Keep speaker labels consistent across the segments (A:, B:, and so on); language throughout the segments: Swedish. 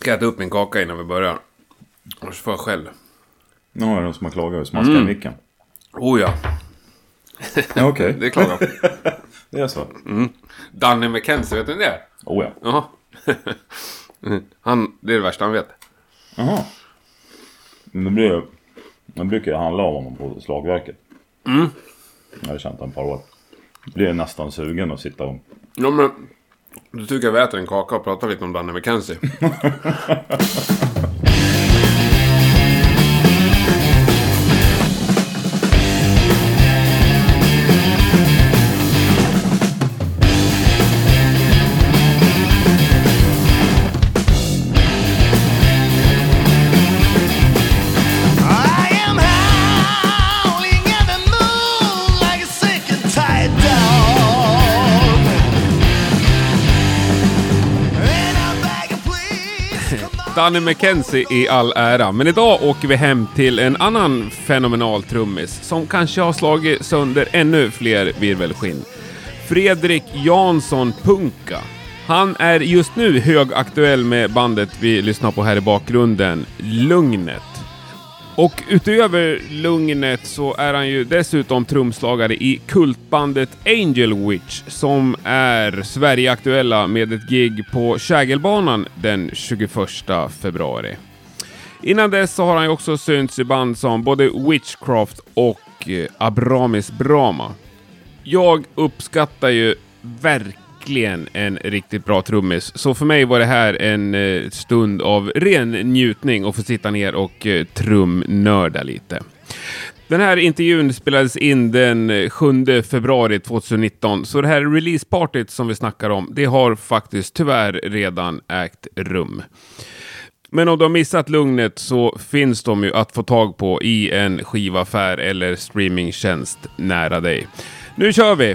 A: Ska äta upp min kaka innan vi börjar. Annars får jag skäll.
B: Nu har jag de som har klagat över smaskar i micken.
A: Oh ja,
B: Mm. Ja, Okej,
A: det klarar jag.
B: det är så.
A: Danny McKenzie, vet ni det?
B: Oh ja.
A: Ja. Han, det är det värsta han vet.
B: Jaha. Men Då, blir jag, då brukar jag handla av honom på slagverket. Mm. Jag har känt honom ett par år. Blir jag nästan sugen att sitta och...
A: Ja, men, då tycker jag vi äter en kaka och pratar lite om Danny McKenzie.
C: I am howling at the moon like a sick and tired dog. And I'm begging, please, come on.
A: Danny McKenzie i all ära, men idag åker vi hem till en annan fenomenal trummis som kanske har slagit sönder ännu fler virvelskinn. Fredrik Jansson Punka. Han är just nu högaktuell med bandet vi lyssnar på här i bakgrunden, Lugnet. Och utöver Lugnet så är han ju dessutom trumslagare i kultbandet Angel Witch som är Sverigeaktuella med ett gig på Kägelbanan den 21 februari. Innan dess så har han ju också synts i band som både Witchcraft och eh, Abramis Brama. Jag uppskattar ju verkligen en riktigt bra trummis, så för mig var det här en eh, stund av ren njutning att få sitta ner och eh, trumnörda lite. Den här intervjun spelades in den eh, 7 februari 2019, så det här releasepartyt som vi snackar om, det har faktiskt tyvärr redan ägt rum. Men om du har missat Lugnet så finns de ju att få tag på i en skivaffär eller streamingtjänst nära dig. Nu kör vi!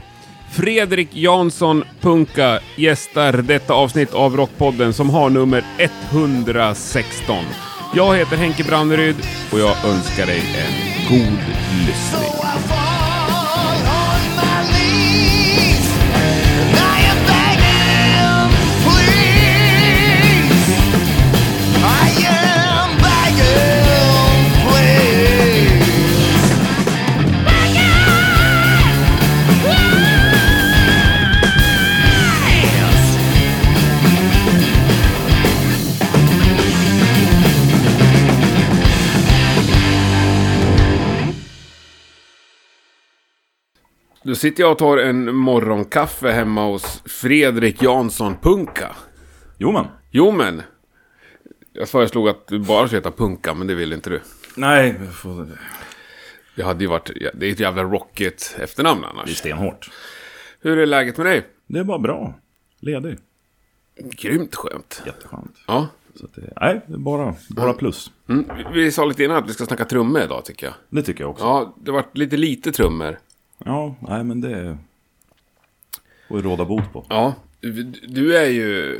A: Fredrik Jansson Punka gästar detta avsnitt av Rockpodden som har nummer 116. Jag heter Henke Branneryd och jag önskar dig en god lyssning.
C: So I fall on my knees. And I am begging, please. I am begging, please.
A: Då sitter jag och tar en morgonkaffe hemma hos Fredrik Jansson Punka.
B: Jo men.
A: Jo men. Jag föreslog att du bara skulle heta Punka, men det vill inte du.
B: Nej, vi får- det
A: Det hade ju varit... Det är ett jävla rocket efternamn
B: är
A: annars.
B: stenhårt.
A: Hur är läget med dig?
B: Det är bara bra. Ledig.
A: Grymt skönt.
B: Jätteskönt.
A: Ja.
B: Så att det, nej, det är bara, bara plus.
A: Mm. vi- Vi sa lite innan att vi ska snacka trummor idag tycker jag.
B: Det tycker jag också.
A: Ja, det vart lite lite trummor.
B: Ja, nej men det... är- Får ju råda bot på.
A: Ja. Du- Du är ju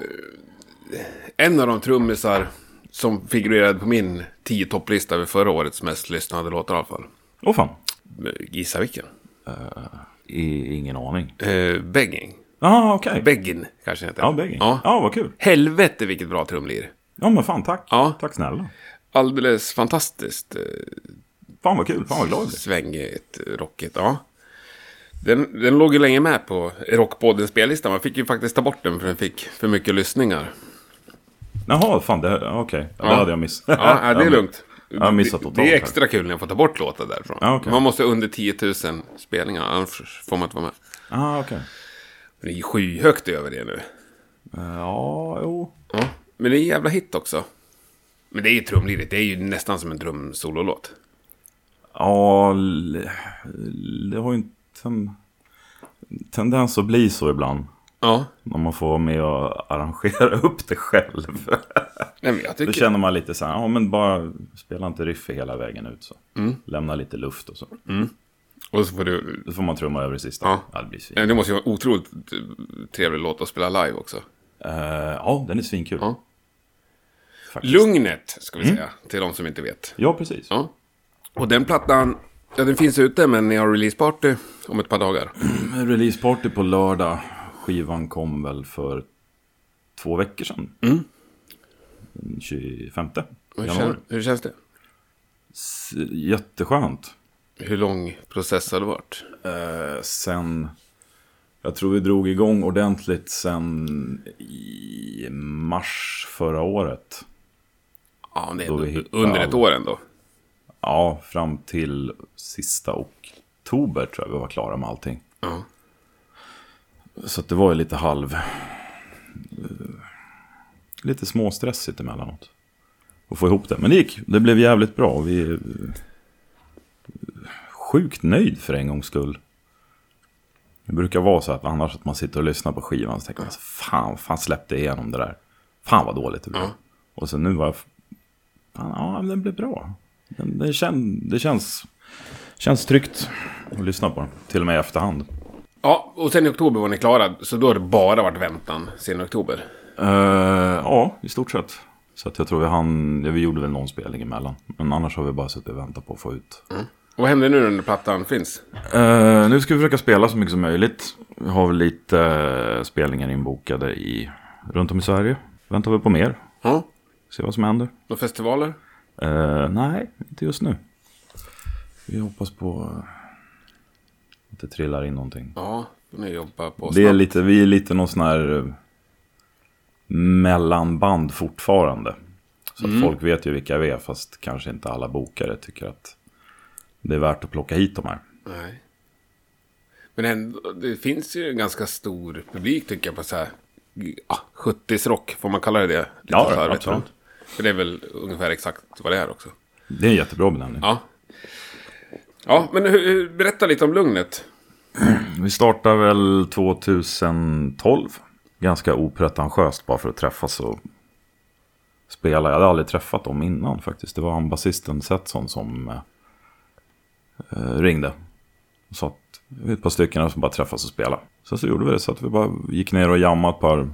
A: en av de trummisar som figurerade på min 10 topplista över förra årets mest lyssnade låtar i alla fall.
B: Åh fan.
A: Gissa vilken?
B: I, ingen aning.
A: Eh, begging.
B: Ah, okej.
A: Beggin kanske heter.
B: Ja, bägge.
A: Ja.
B: Ja. vad kul.
A: Helvete vilket bra trumlir.
B: Ja, men fan tack.
A: Ja.
B: Tack snälla.
A: Alldeles fantastiskt eh,
B: Fan vad kul. Fan vad glad jag blir.
A: svängigt, eh, rockigt. Ja. Den, den låg ju länge med på Rockpoddens spellista. Man fick ju faktiskt ta bort den för den fick för mycket lyssningar.
B: Jaha, fan det... ja, Okej. Ja, det
A: Ja.
B: hade jag missat.
A: Ja, ja, det är
B: men-
A: lugnt.
B: jag har missat
A: Det-
B: totalt
A: Det är
B: här.
A: extra kul när jag får ta bort låtar därifrån.
B: Ja, okej.
A: Man måste under 10 000 spelningar, annars får man inte vara med.
B: Ah, okej.
A: Det är ju skyhögt över det nu.
B: Eh, Ja, jo.
A: Ja. Men det är en jävla hit också. Men det är ju trumlidigt. Det är ju nästan som en drumsololåt.
B: Ja, l- det har ju en ten... tendens att bli så ibland.
A: Ja.
B: När man får vara med och arrangera upp det själv.
A: Nej, men jag
B: Då
A: tycker...
B: känner man lite så här, ja men bara spela inte riffet hela vägen ut så.
A: Mm.
B: Lämna lite luft och så.
A: Och så får du...
B: Då får man trumma över det sista.
A: Mm. Ja.
B: Ja, det blir svin.
A: Ja, Det måste ju vara en otroligt eh, trevlig låt att spela live också.
B: Eh, ja, den är svinkul.
A: Ja.
B: Faktiskt.
A: Lugnet, ska
B: Mm.
A: vi säga, till de som inte vet.
B: Ja, precis.
A: Ja. Och den plattan, ja den finns ute men ni har releaseparty om ett par dagar.
B: Releaseparty på lördag. Skivan kom väl för två veckor sedan. 25
A: Hur,
B: januari.
A: kän, hur känns det?
B: S- Jätteskönt.
A: Hur lång process har det varit?
B: Eh, sen... Jag tror vi drog igång ordentligt sen i mars förra året.
A: Ja, det är
B: Då vi
A: ändå
B: hittar
A: under ett
B: alla.
A: år ändå.
B: Ja, fram till sista oktober tror jag vi var klara med allting.
A: Ja.
B: Så att det var ju lite halv... eh, Lite småstressigt emellanåt. Att få ihop det. Men det gick. Det blev jävligt bra. Vi är eh, sjukt nöjd för en gångs skull. Det brukar vara så att annars att man sitter och lyssnar på skivan och tänker man så, fan, fan släppte jag igenom det där. Fan vad dåligt det blev. Och så nu var jag... Fan, ja, men den blev bra. Den, den kän, det känns, känns tryggt att lyssna på den. Till och med i efterhand.
A: ja, och sen i oktober var ni klara. Så då har det bara varit väntan sen oktober.
B: Eh, ja, i stort sett. Så att jag tror vi hann, ja, vi gjorde väl någon spelning emellan. Men annars har vi bara suttit och väntat på att få ut.
A: Och vad händer nu när plattan finns?
B: Eh, nu ska vi försöka spela så mycket som möjligt. Vi har väl lite eh, spelningar inbokade i, runt om i Sverige. Väntar vi på mer.
A: Ja.
B: Se vad som händer.
A: Några festivaler?
B: Eh, nej, inte just nu. Vi hoppas på eh, att det trillar in någonting.
A: Ja, då ni jobbar på
B: Det är
A: snabbt.
B: lite, vi är lite någon sån här eh, mellanband fortfarande. Så
A: Mm.
B: att folk vet ju vilka vi är, fast kanske inte alla bokare tycker att det är värt att plocka hit de här.
A: Nej. Men ändå, det finns ju en ganska stor publik tycker jag på så här ja, 70s-rock, får man kalla det det? Lite
B: Ja,
A: så här, vet
B: absolut.
A: du. För det är väl ungefär exakt vad det är också.
B: Det är en jättebra benämning.
A: Ja. Ja, men hur- hur- berätta lite om Lugnet.
B: Vi startar väl 2012. Ganska opretentiöst bara för att träffas och spela. Jag hade aldrig träffat dem innan faktiskt. Det var han basisten Setson som eh, eh, ringde. Och sa att vi är ett par stycken som bara träffas och spelar. Sen så gjorde vi det så att vi bara gick ner och jammade ett par,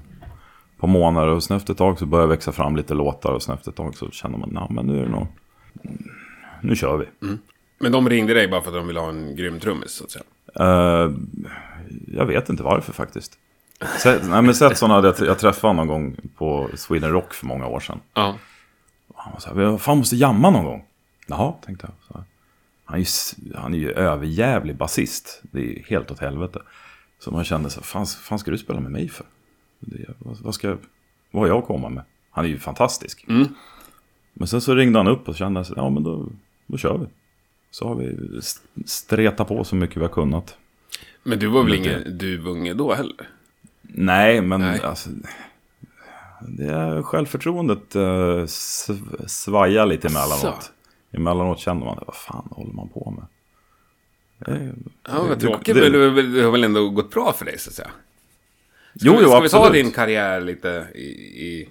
B: par månader. Och sen efter ett tag så började det växa fram lite låtar. Och sen efter ett tag så kände man att nu är det nog... Nu kör vi.
A: Men de ringde dig bara för att de ville ha en grym trummis, så att säga.
B: Eh, jag vet inte varför faktiskt. Se, nej, men Setson hade jag, jag träffade någon gång på Sweden Rock för många år sedan.
A: Ja.
B: Och Han var så här, "Vi fan måste jamma någon gång. Jaha, tänkte jag. Så här. Han är ju, s- han är ju överjävlig basist. Det är ju helt åt helvete. Så man kände så här, fan, fan ska du spela med mig för? Det, vad, vad, ska, vad har jag att komma med? Han är ju fantastisk. Men sen så ringde han upp och kände så här, ja men då, då kör vi. Så har vi st- stretat på så mycket vi har kunnat.
A: Men du var väl
B: Men det-
A: ingen duvunge då heller?
B: Nej, men
A: Nej.
B: Alltså, det är självförtroendet eh, sv- svajar lite emellanåt.
A: Asså.
B: Emellanåt känner man, vad fan håller man på med? Eh,
A: Ja, vad
B: det-
A: tråkigt.
B: det-
A: men Det, det, har väl ändå gått bra för dig, så att säga?
B: Jo, jo,
A: Ska vi ta
B: absolut.
A: din karriär lite i, i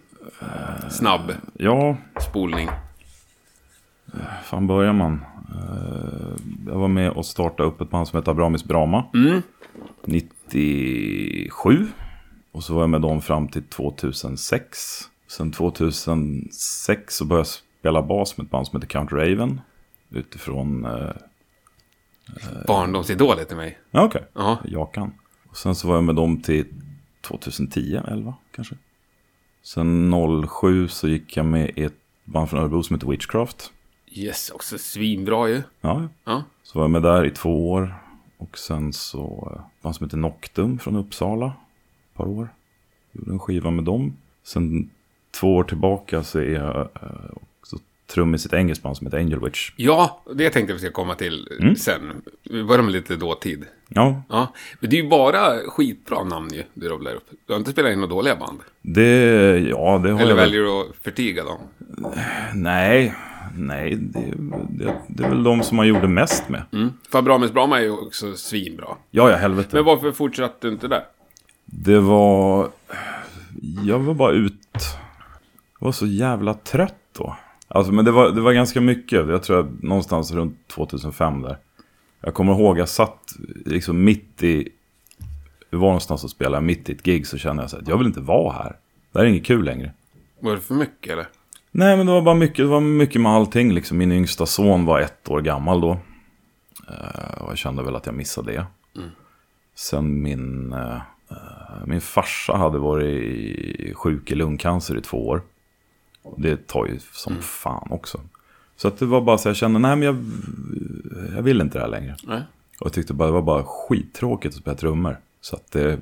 A: snabb
B: Ja,
A: spolning?
B: Eh. fan börjar man? Eh, jag var med och startade upp ett band som heter Abramis Brama. 97. Och så var jag med dem fram till 2006. Sen 2006 så började jag spela bas med ett band som heter Count Raven. Utifrån eh,
A: Barndomsidol heter mig.
B: Ja, okej.
A: Ja.
B: Jakan. Och sen så var jag med dem till 2010, 11 kanske. Sen 07 så gick jag med i ett band från Örebro som heter Witchcraft.
A: Yes, också svinbra ju.
B: Ja,
A: Ja.
B: så var jag med där i två år. Och sen så eh, ett band som heter Noctum från Uppsala. Ett par år. Gjorde en skiva med dem. Sen två år tillbaka så är jag eh, också trummis i ett engelskt band som heter Angel Witch.
A: ja, det tänkte vi ska komma till
B: Mm.
A: sen. Vi börjar med lite dåtid.
B: Ja,
A: Ja, men det är ju bara skitbra namn ju du rabblar upp. Du har inte spelat in några dåliga band.
B: det, ja, det
A: Eller
B: har jag väl.
A: väljer du att förtiga dem.
B: Nej, nej det, det, det är väl de som man gjorde mest med.
A: För Abramis Brahma är ju också svinbra.
B: Ja, ja, helvete.
A: Men varför fortsatte du inte där?
B: Det var... Jag var bara ut... Jag var så jävla trött då. Alltså, men det var, det var ganska mycket. Jag tror jag, någonstans runt 2005 där. Jag kommer ihåg, jag satt liksom mitt i... Vi var någonstans och spelade, mitt i ett gig så kände jag så här, jag vill inte vara här. Det här är inget kul längre.
A: Var det för mycket eller?
B: Nej, men det var bara mycket, det var mycket med allting. Liksom. Min yngsta son var ett år gammal då. Eh, och jag kände väl att jag missade det. Sen min, eh, eh, min farsa hade varit i- sjuk i lungcancer i två år. Det tar ju som fan också. Så att det var bara så jag kände, nej men jag, jag vill inte det här längre.
A: Nej.
B: Och jag tyckte bara det var bara skittråkigt att spela trummor. Så, att det,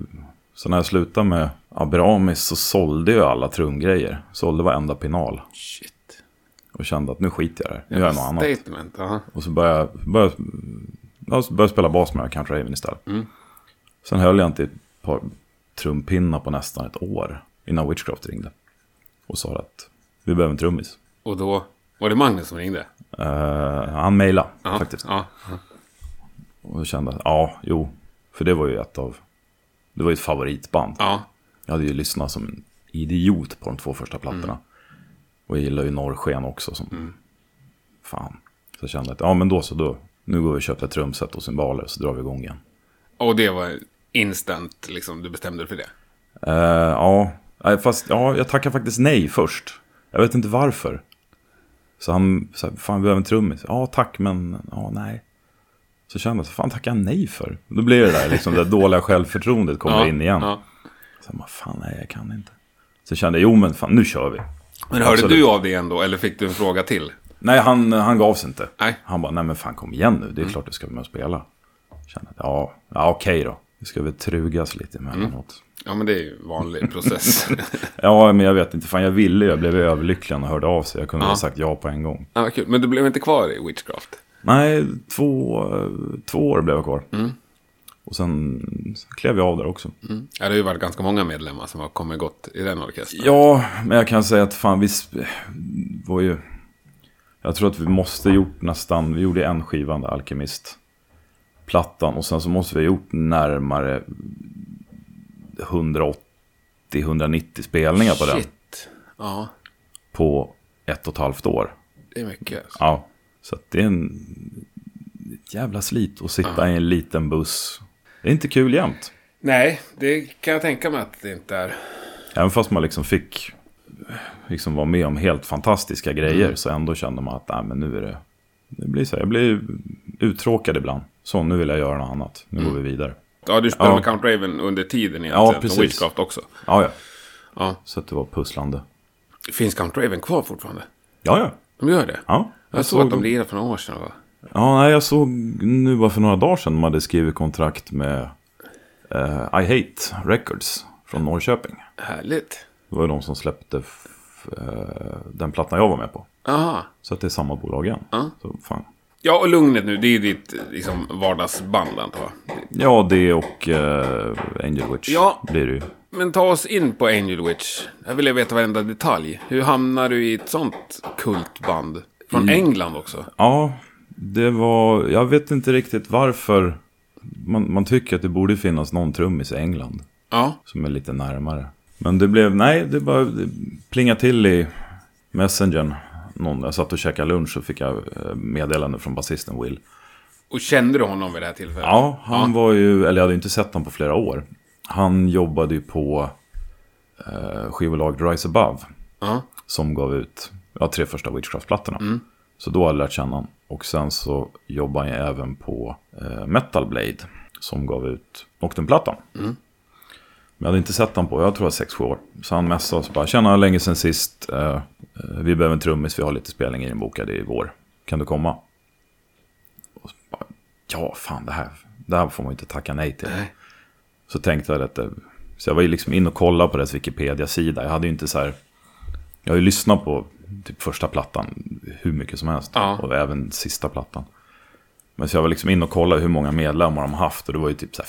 B: så när jag slutade med Abramis så sålde jag alla trumgrejer. Sålde varenda pinal.
A: Shit.
B: Och kände att nu skiter jag i det här. Nu gör jag något annat.
A: Statement, ja.
B: Och så började jag, började, jag började spela bas med Count Raven istället.
A: Mm.
B: Sen höll jag inte i ett par trumpinnar på nästan ett år. Innan Witchcraft ringde. Och sa att vi behöver en trummis.
A: Och då var det Magnus som ringde?
B: Eh, han mejlade
A: Ja.
B: faktiskt.
A: Ja.
B: Och då kände jag, ja, jo. För det var ju ett av... Det var ju ett favoritband.
A: ja.
B: Jag hade ju lyssnat som en idiot på de två första plattorna. Och jag gillar ju Norrsken också som...
A: Mm.
B: Fan. Så jag kände att, ja men då så, då. Nu går vi och köper ett trumset och cymbaler så drar vi igång igen.
A: Och det var instant, liksom, du bestämde dig för det?
B: Eh, ja, Nej, fast ja, jag tackade faktiskt nej först. Jag vet inte varför. Så han sa, fan vi behöver en trummis. Ja, tack, men ja, nej. Så kände jag, fan tackar jag nej för? Då blir det där liksom, det där dåliga självförtroendet kommer
A: ja.
B: in igen.
A: Ja.
B: Så jag bara, fan nej, jag kan inte. Så kände jag, jo men fan, nu kör vi.
A: Men hörde
B: Absolut.
A: du av det ändå, eller fick du en fråga till?
B: Nej, han, han gav sig inte.
A: Nej.
B: Han bara, nej men fan kom igen nu, det är klart du ska vara med och spela. Jag Kände att, ja, ja okej då. Vi ska väl trugas lite emellanåt.
A: Ja, men det är ju en vanlig process.
B: Ja, men jag vet inte, fan jag ville, jag blev överlycklig när jag hörde av sig. Jag kunde ha sagt ja på en gång.
A: ja, vad kul. Men du blev inte kvar i Witchcraft?
B: Nej, två, eh, två år blev jag kvar. Och sen, sen klev jag av där också.
A: Ja, det har ju varit ganska många medlemmar som har kommit gott i den orkestern.
B: Ja, men jag kan säga att fan, vi sp- var ju... Jag tror att vi måste gjort nästan, vi gjorde en skiva, där, Alkemist. Plattan och sen så måste vi ha gjort närmare 180-190 spelningar på den.
A: Shit. Ja,
B: På ett och ett halvt år.
A: det är mycket.
B: Ja, så att det är en ett jävla slit att sitta i en liten buss. Det är inte kul jämt.
A: Nej, det kan jag tänka mig att det inte är.
B: Även fast man liksom fick liksom vara med om helt fantastiska grejer
A: Mm.
B: så ändå kände man att nej, men nu är det... Det blir så här, jag blir uttråkad ibland. Så nu vill jag göra något annat. Nu
A: Mm.
B: går vi vidare.
A: Ja, du spelade
B: Ja.
A: med Count Raven under tiden
B: Ja,
A: egentligen.
B: precis.
A: och Witchcraft också.
B: Ja, ja.
A: Ja.
B: Så att det var pusslande.
A: Finns Count Raven kvar fortfarande?
B: Ja, ja.
A: De gör det?
B: ja.
A: Jag såg att de lirade för några år sedan. Va?
B: Ja, nej, jag såg nu bara för några dagar sedan de hade skrivit kontrakt med eh, I Hate Records från Norrköping.
A: Härligt.
B: Det var ju de som släppte f- eh, den plattan jag var med på.
A: Aha.
B: Så att det är samma bolag igen. Så, fan.
A: Ja, och Lugnet nu, det är ju ditt liksom, vardagsband antar jag.
B: Ja, det och eh, Angel Witch
A: Ja.
B: blir det ju.
A: Men ta oss in på Angel Witch. Här vill jag veta varenda detalj. Hur hamnar du i ett sånt kultband? Från
B: Mm.
A: England också?
B: Ja, det var... Jag vet inte riktigt varför. Man, man tycker att det borde finnas någon trummis i England
A: Ja.
B: som är lite närmare. Men det blev... Nej, det bara det plingade till i Messengern. Någon, jag satt och käkade lunch så fick jag eh, meddelande från basisten Will.
A: Och kände du honom vid det här tillfället?
B: Ja, han var ju, eller jag hade ju inte sett honom på flera år. Han jobbade ju på eh, skivbolaget Rise Above.
A: Ja.
B: Som gav ut ja, tre första Witchcraft-plattorna. Så då hade jag lärt känna honom. Och sen så jobbade jag även på eh, Metal Blade. Som gav ut Noctum-plattan. Men jag hade inte sett honom på, jag tror det var 6-7 år. Så han messade oss och bara, tjena länge sen sist. Eh, eh, vi behöver en trummis, vi har lite spelningar inbokade i vår. Kan du komma? ja, fan det här, det här får man ju inte tacka nej till. Så tänkte jag att det, så jag var ju liksom in och kollade på deras Wikipedia-sida. Jag hade ju inte så här, jag har ju lyssnat på typ första plattan hur mycket som helst.
A: Ja.
B: Och även sista plattan. Men så jag var liksom in och kollade hur många medlemmar de haft. Och det var ju typ så här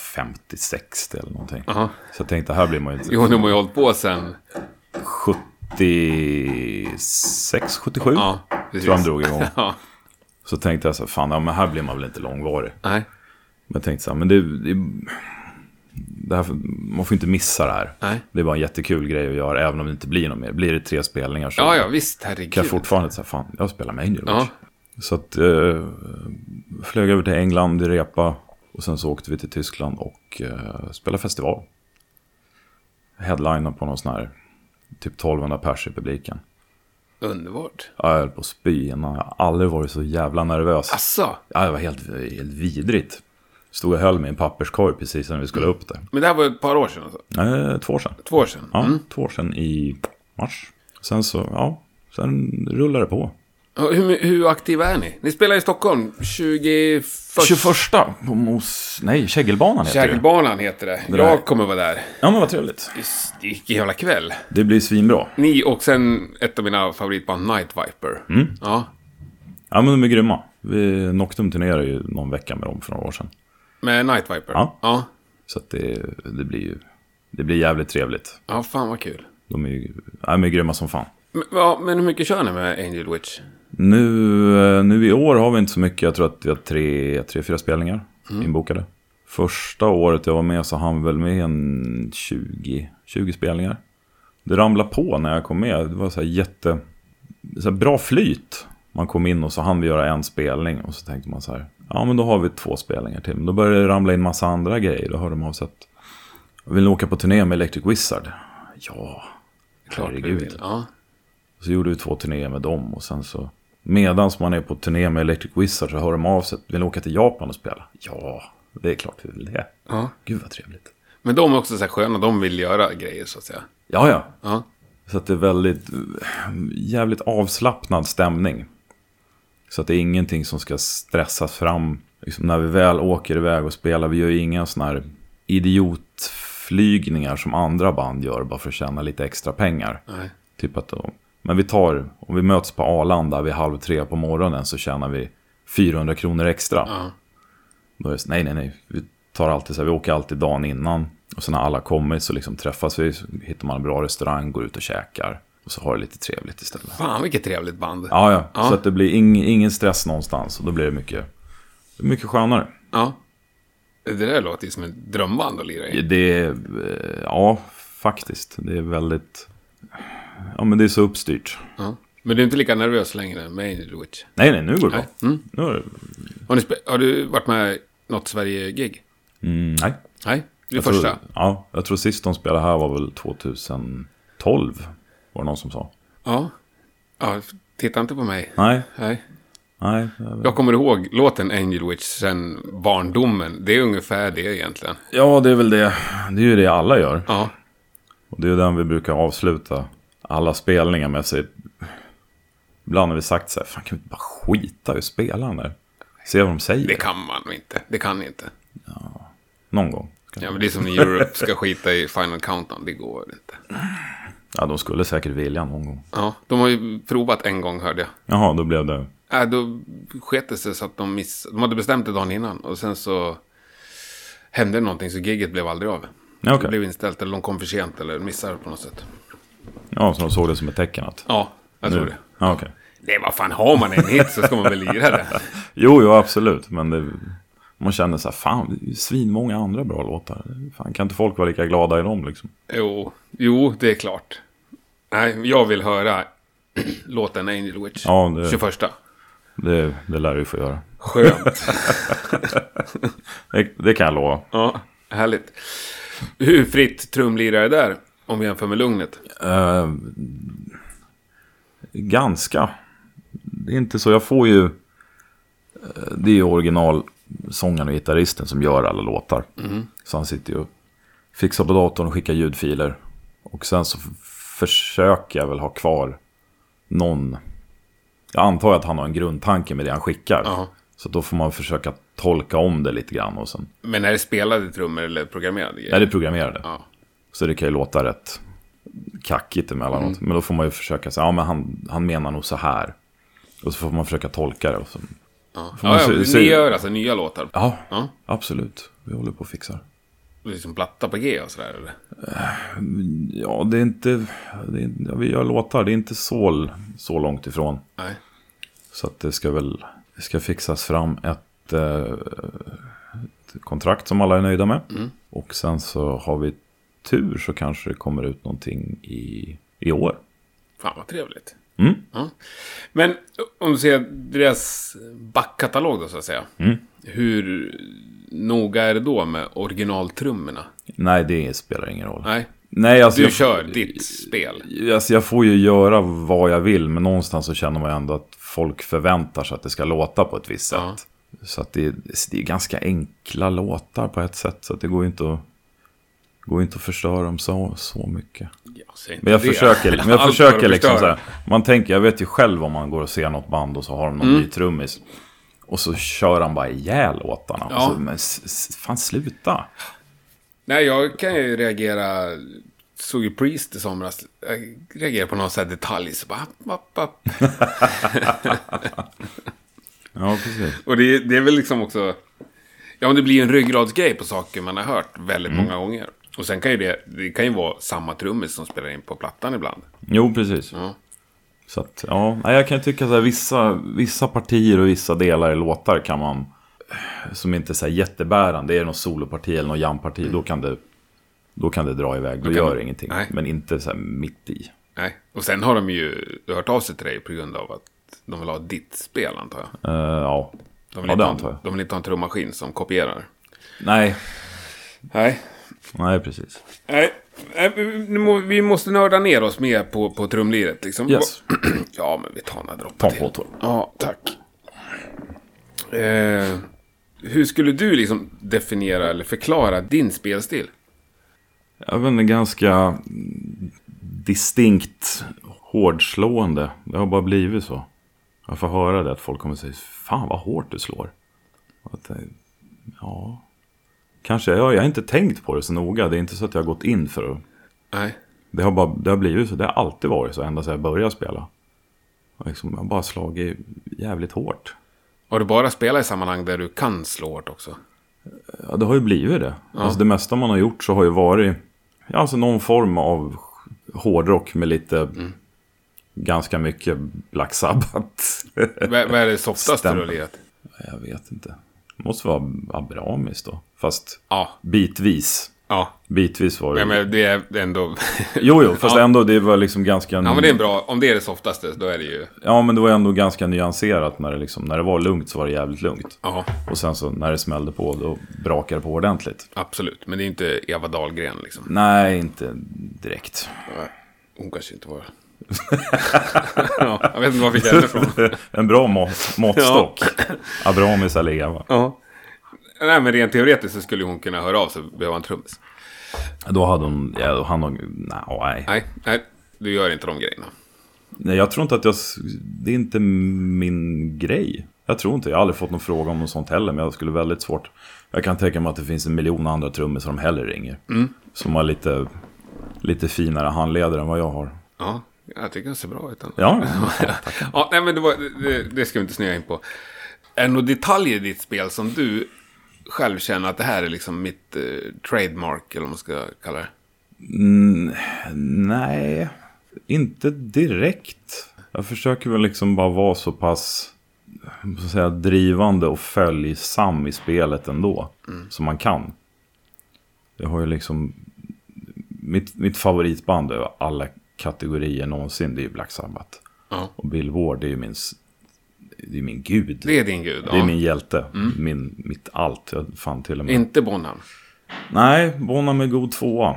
B: 50-60 eller någonting.
A: Aha.
B: Så jag tänkte, här blir man ju inte
A: Jo, de har ju hållit på sen.
B: 76, 77.
A: Ja,
B: tror
A: precis.
B: jag de drog igång.
A: Ja.
B: Så tänkte jag så här, fan, ja, men här blir man väl inte långvarig.
A: Nej.
B: Men jag tänkte så här, men det, det, det här, man får inte missa det här.
A: Nej.
B: Det är bara en jättekul grej att göra, även om det inte blir något mer. Blir det tre spelningar så
A: Ja, ja, visst.
B: kan
A: Herregud.
B: jag fortfarande säga, fan, jag spelar med Angel Witch.
A: Ja.
B: Så att, eh, flög över till England, repa och sen så åkte vi till Tyskland och eh, spelade festival. Headliner på någon sån här, typ 1200 pers i publiken.
A: Underbart.
B: Ja, Jag höll på att spy innan, jag har aldrig varit så jävla nervös.
A: Asså.
B: Ja, det var helt, helt vidrigt. Stod och höll mig i en papperskorg precis när vi skulle upp där.
A: Men det här var ett par år sedan alltså?
B: Eh, två år sedan.
A: Två år sedan?
B: Ja, två år sedan i mars. Sen så, ja, Sen rullar det på.
A: Ja, Hur, hur aktiva är ni? Ni spelar i Stockholm 21...
B: 21 på Mos... Nej, Kägelbanan heter det.
A: Kägelbanan heter det.
B: där-
A: Jag kommer vara där.
B: Ja, men vad trevligt.
A: Just, Vilken jävla kväll.
B: Det blir svinbra.
A: Ni och sen ett av mina favoritband Night Viper.
B: Mm.
A: Ja.
B: Ja, men de är grymma. Vi Noctum turnerade ju någon vecka med dem för några år sedan.
A: Med Night Viper?
B: Ja.
A: ja.
B: Så att det, det blir ju... Det blir jävligt trevligt.
A: Ja, fan vad kul.
B: De är ju ja, de är grymma som fan.
A: Men, ja, men hur mycket kör ni med Angel Witch?
B: Nu, eh, nu i år har vi inte så mycket. Jag tror att vi har tre, tre fyra spelningar
A: Mm.
B: inbokade. Första året jag var med så hann vi väl med en 20, 20 spelningar. Det ramlade på när jag kom med. Det var så här jätte... Så här bra flyt. Man kom in och så hann vi göra en spelning. Och så tänkte man så här. Ja men då har vi två spelningar till. Men då började det ramla in massa andra grejer. Då hörde de av sig att. Vill ni åka på turné med Electric Wizard? Ja.
A: vi vill. Ja.
B: Så gjorde vi två turnéer med dem och sen så medan man är på turné med Electric Wizard så hör de av sig. Vill ni åka till Japan och spela? Ja, det är klart vi vill det.
A: Ja.
B: Gud vad trevligt.
A: Men de är också så här sköna, de vill göra grejer så att säga.
B: Ja, ja.
A: Ja.
B: Så att det är väldigt, jävligt avslappnad stämning. Så att det är ingenting som ska stressas fram. Liksom när vi väl åker iväg och spelar, vi gör ju inga sådana här idiotflygningar som andra band gör bara för att tjäna lite extra pengar.
A: Nej.
B: Typ att de, men vi tar, om vi möts på Arlanda vid halv tre på morgonen så tjänar vi 400 kronor extra.
A: Ja.
B: Då är det så, nej, nej, nej. Vi tar alltid så här, vi åker alltid dagen innan. Och sen när alla kommit så liksom träffas vi, så hittar man en bra restaurang, går ut och käkar. Och så har det lite trevligt istället.
A: Fan vilket trevligt band.
B: Ja, ja.
A: Ja.
B: Så att det blir ing, ingen stress någonstans. Och då blir det mycket, mycket skönare.
A: Ja. Det där låter ju som ett drömband att lira i.
B: Det är, eh, ja, faktiskt. Det är väldigt, ja men det är så uppstyrt.
A: Ja. Men du är inte lika nervös längre med Angel Witch?
B: Nej, nej, nu går det
A: Nej. Mm.
B: bra. Nu är det,
A: Har, ni spe- har du varit med i något Sverige-gig?
B: mm, nej.
A: Nej, det är
B: Jag
A: första.
B: Tror, ja, jag tror sist de spelade här var väl 2012. Var det någon som sa.
A: Ja. ja. Titta inte på mig.
B: Nej,
A: Nej.
B: nej.
A: Jag kommer ihåg låten Angel Witch sen barndomen. Det är ungefär det egentligen.
B: Ja, det är väl det. Det är ju det alla gör.
A: Ja.
B: Och det är den vi brukar avsluta alla spelningar med. Sig. Ibland har vi sagt så här, fan kan vi inte bara skita i att spela nu? Se vad de säger.
A: Det kan man nog inte. Det kan ni inte.
B: Någon gång.
A: Ja, men det är som när Europe ska skita i Final Countdown. Det går inte.
B: Ja, de skulle säkert vilja någon gång.
A: Ja, de har ju provat en gång hörde jag.
B: Jaha, då blev det...
A: Äh, då sket det sig så att de missade. De hade bestämt det dagen innan och sen så hände någonting så giget blev aldrig av.
B: Ja,
A: Det
B: okej.
A: blev inställt eller de kom för sent eller missade på något sätt.
B: Ja, så de såg det som ett tecken att...
A: Ja, jag tror det.
B: Ja, okej.
A: Nej, vad fan, har man en hit så ska man väl lira det.
B: Jo, jo, absolut. Men det, man känner så här, fan, det är ju svinmånga andra bra låtar. Fan, kan inte folk vara lika glada i dem liksom?
A: Jo, jo, det är klart. Nej, jag vill höra låten Angel Witch.
B: Ja, det-
A: 21.
B: Det, det lär vi få göra.
A: Skönt.
B: Det, det kan jag lova.
A: ja, härligt. Hur fritt trumlirare där? Om vi jämför med Lugnet.
B: Eh, ganska. Det är inte så, jag får ju... eh, Det är ju originalsångaren och gitarristen som gör alla låtar. Så han sitter ju och fixar på datorn och skickar ljudfiler. Och sen så f- försöker jag väl ha kvar någon... Jag antar att han har en grundtanke med det han skickar.
A: Ja.
B: Så då får man försöka tolka om det lite grann och sen...
A: Men är det spelade trummor eller programmerade grejer?
B: Nej, det är programmerade.
A: Ja.
B: Så det kan ju låta rätt kackigt
A: Mm.
B: emellanåt. Men då får man ju försöka säga, ja men han, han menar nog så här. Och så får man försöka tolka det. Och så,
A: Ja,
B: man
A: ja,
B: se-
A: men
B: se-
A: ni gör alltså nya låtar?
B: ja,
A: Ja.
B: absolut. Vi håller på och fixar.
A: Liksom platta på G och sådär eller?
B: Ja, det är inte... Det är, ja, vi gör låtar, det är inte så, så långt ifrån.
A: Nej.
B: Så att det ska väl... Det ska fixas fram ett, eh, ett kontrakt som alla är nöjda med.
A: Mm.
B: Och sen så har vi tur så kanske det kommer ut någonting i, i år.
A: Fan vad trevligt.
B: Mm.
A: Ja. Men om du ser deras backkatalog då så att säga.
B: Mm.
A: Hur noga är det då med originaltrummorna?
B: Nej, det spelar ingen roll.
A: Nej,
B: Nej, alltså
A: du
B: jag,
A: kör ditt spel.
B: Alltså jag får ju göra vad jag vill, men någonstans så känner man ju ändå att folk förväntar sig att det ska låta på ett visst sätt.
A: Ja.
B: Så att det, är- det är ganska enkla låtar på ett sätt, så att det går ju inte att går ju inte att förstöra dem så, så mycket.
A: Jag säger inte
B: Men jag
A: det.
B: försöker, men jag
A: Allt
B: försöker
A: bara
B: liksom
A: förstör.
B: så här, Man tänker, jag vet ju själv om man går och ser något band och så har de
A: Mm.
B: någon ny trummis. Och så kör han bara ihjäl låtarna.
A: Ja.
B: Och så, men s- s- fan sluta.
A: Nej, jag kan ju reagera. Såg ju Priest i somras. Jag reagerade på någon sån här detalj. Så bara, app, app, app.
B: Ja, precis.
A: Och det, det är väl liksom också... Ja, men det blir ju en ryggradsgrej på saker man har hört väldigt
B: Mm.
A: många gånger. Och sen kan ju det, det kan ju vara samma trummis som spelar in på plattan ibland.
B: Jo, precis.
A: Ja.
B: Så att, ja, nej, jag kan tycka att vissa, vissa partier och vissa delar i låtar kan man, som inte är så här jättebärande, är det någon soloparti eller någon jamparti, då kan det, då kan det dra iväg, då,
A: Mm. kan
B: gör
A: det-
B: det ingenting.
A: nej.
B: Men inte så här mitt i.
A: Nej. Och sen har de ju hört av sig till dig på grund av att de vill ha ditt spel, antar jag.
B: Eh, ja,
A: De vill,
B: ja
A: inte,
B: det
A: ha-
B: antar jag.
A: de vill inte ha en trummaskin som kopierar.
B: Nej,
A: Nej.
B: nej precis.
A: Nej. Nej, vi- vi må- Vi måste nörda ner oss mer på, på trumliret liksom.
B: Yes.
A: Ja, men vi tar några droppar
B: Ta
A: till.
B: på tår.
A: Ja, tack. Eh, hur skulle du liksom definiera eller förklara din spelstil?
B: Jag vet inte, ganska mm, distinkt hårdslående. Det har bara blivit så. Jag får höra det att folk kommer säga Fan vad hårt du slår. Och Att, eh, ja, kanske. Jag, jag har inte tänkt på det så noga. Det är inte så att jag har gått in för det.
A: Nej.
B: Det har, bara, det har blivit så. Det har alltid varit så ända sedan jag började spela. Och Liksom, jag har bara slagit jävligt hårt.
A: Har du bara spelat i sammanhang där du kan slå hårt också?
B: Ja, det har ju blivit det. Alltså det mesta man har gjort så har ju varit ja, alltså någon form av hårdrock med lite
A: Mm.
B: ganska mycket Black Sabbath.
A: V- Vad är det softaste du har
B: Stämmer.
A: lirat?
B: Jag vet inte. Det måste vara Abramis då. Fast
A: Ja.
B: bitvis.
A: Ja.
B: Bitvis var det.
A: ja men det är ändå...
B: Jo, jo, fast
A: ja.
B: ändå det var liksom ganska...
A: Ja, men det är en bra... Om det är det softaste, då är det ju...
B: ja, men det var ändå ganska nyanserat när det liksom, när det var lugnt så var det jävligt lugnt.
A: Ja,
B: Och sen så när det smällde på då brakade det på ordentligt.
A: absolut. Men det är ju inte Eva Dahlgren liksom.
B: Nej, inte direkt.
A: Hon kanske inte var... ja, jag vet inte var jag fick henne ifrån.
B: en bra mått, måttstock. Abramis eller Eva.
A: Ja. Nej, men rent teoretiskt så skulle hon kunna höra av sig och behöva en trummis.
B: Då hade hon, ja, då han nog, nej, nej.
A: Nej, nej, du gör inte de grejerna.
B: Nej, jag tror inte att jag, s- det är inte min grej. Jag tror inte, jag har aldrig fått någon fråga om något sånt heller, men jag skulle väldigt svårt. Jag kan tänka mig att det finns en miljon andra trummor som de hellre ringer. Som har lite, lite finare handleder än vad jag har.
A: Ja, jag tycker den ser bra ut. ändå.
B: Ja,
A: ja nej, men det, var, det, det ska vi inte snöa in på. Är det några detaljer i ditt spel som du själv känner att det här är liksom mitt eh, trademark, eller vad man ska kalla det?
B: nej, inte direkt. Jag försöker väl liksom bara vara så pass vad ska jag säga, drivande och följsam i spelet ändå.
A: Mm.
B: Som man kan. Jag har ju liksom... Mitt, mitt favoritband över alla kategorier någonsin, det är ju Black Sabbath.
A: Ja.
B: Och Bill Ward, det är ju min, s- det är min gud.
A: Det är Mm. din gud.
B: Det är
A: ja.
B: min hjälte. Min, mitt allt. Jag fan till och med...
A: Inte Bonham.
B: Nej, Bonham är god tvåa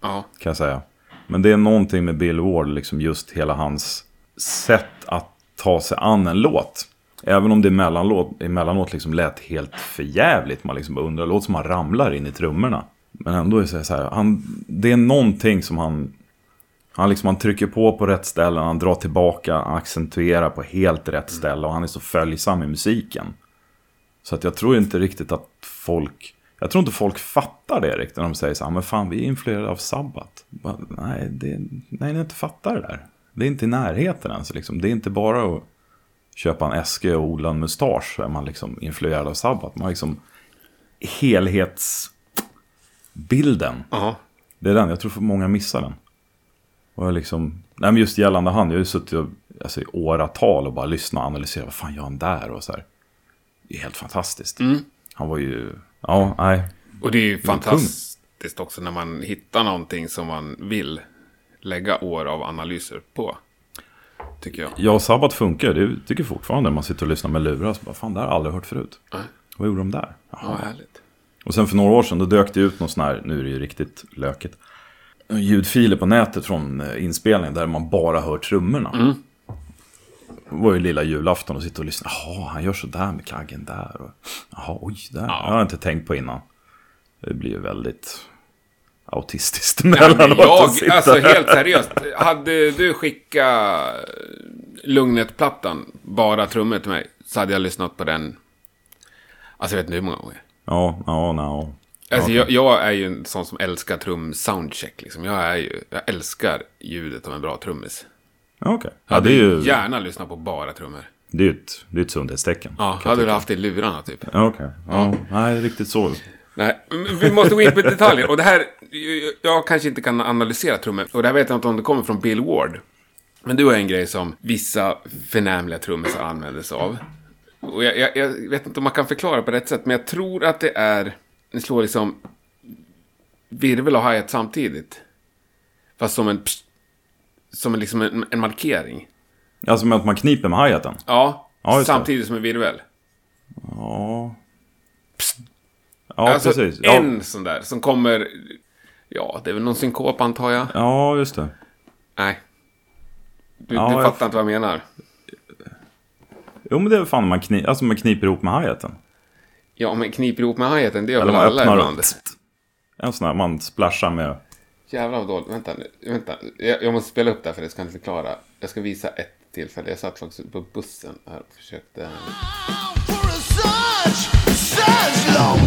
A: Ja,
B: kan jag säga. Men det är någonting med Bill Ward, liksom just hela hans sätt att ta sig an en låt. Även om det emellanåt, emellanåt liksom lät helt förjävligt. Man liksom bara undrar, låt som han ramlar in i trummorna. Men ändå är det så här, han, det är någonting som han... Han, liksom, han trycker på på rätt ställe, han drar tillbaka, han accentuerar på helt rätt ställe och han är så följsam i musiken. Så att jag tror inte riktigt att folk... Jag tror inte folk fattar det riktigt när de säger så här, "Ah, men fan vi är influerade av Sabbat. Bara, Nej, det, nej, ni inte fattar det där. Det är inte i närheten ens liksom. Det är inte bara att köpa en äske och odla en mustasch så är man liksom influerad av Sabbat. Man har liksom helhetsbilden.
A: ja.
B: Det är den, jag tror för många missar den. Och jag liksom, nej men just gällande han, jag har ju suttit och, alltså, i åratal och bara lyssnat och analyserat, vad fan gör han där och så här. Det är helt fantastiskt. Han var ju, ja, nej.
A: Och det är ju fantastiskt också när man hittar någonting som man vill lägga år av analyser på. Tycker jag.
B: Ja, Sabbat funkar, det tycker jag fortfarande när man sitter och lyssnar med lurar, så bara, fan det här har jag aldrig hört förut. Vad gjorde de där?
A: Ja, härligt.
B: Och sen för några år sedan då dök det ut någon sån här, nu är det ju riktigt löket, ljudfiler på nätet från eh, inspelningen där man bara hör trummorna.
A: Mm.
B: Det var ju lilla julafton och sitta och lyssna. Jaha, han gör sådär med kaggen där. Och, Jaha, oj, där. Det har jag inte tänkt på innan. Det blir ju väldigt... autistiskt
A: Men
B: mellanåt att
A: jag,
B: sitta
A: alltså
B: här.
A: helt seriöst. Hade du skickat Lugnet-plattan, bara trummor till mig, så hade jag lyssnat på den. Alltså jag vet inte hur många gånger.
B: Ja, ja, no.
A: Alltså jag, jag är ju en sån som älskar trum-soundcheck liksom. Jag är ju, jag älskar ljudet av en bra trummis.
B: Okej. Ja, det är ju
A: Gärna lyssna på bara trummor.
B: det är ju ett, det är ett sundhetstecken.
A: Ja, hade du haft det i lurarna typ.
B: Ja, Okej. Ja, nej, riktigt så.
A: Nej, men vi måste gå in på detaljer. Och det här, jag- jag kanske inte kan analysera trummor. Och det här vet jag inte om det kommer från Bill Ward. Men du har en grej som vissa förnämliga trummisar använder sig av. Och jag, jag, jag vet inte om man kan förklara på rätt sätt, men jag tror att det är... Ni slår liksom virvel och hi-hat samtidigt. Fast som en... pst- Som en, liksom en, en markering.
B: Alltså med att man kniper med hi-haten.
A: Ja,
B: Ja, just det.
A: samtidigt som en virvel.
B: Ja. Ja,
A: alltså
B: precis. Ja.
A: en sån där som kommer... Ja, det är väl någon synkop antar jag.
B: ja, just det.
A: Nej. Du,
B: Ja,
A: du
B: jag-
A: fattar inte vad jag menar.
B: Jo, men det är väl fan man, kni- alltså, man kniper ihop med hi-haten.
A: Ja, men kniper ihop med hi-haten, det gör
B: Eller
A: väl
B: man
A: alla
B: öppnar
A: ibland.
B: upp. En sån här man splashar med.
A: Jävlar vad dåligt. Vänta nu. Vänta. Jag, jag måste spela upp det här för det ska jag inte förklara. Jag ska visa ett tillfälle. Jag satt faktiskt på bussen här och försökte...
C: For such, such long time.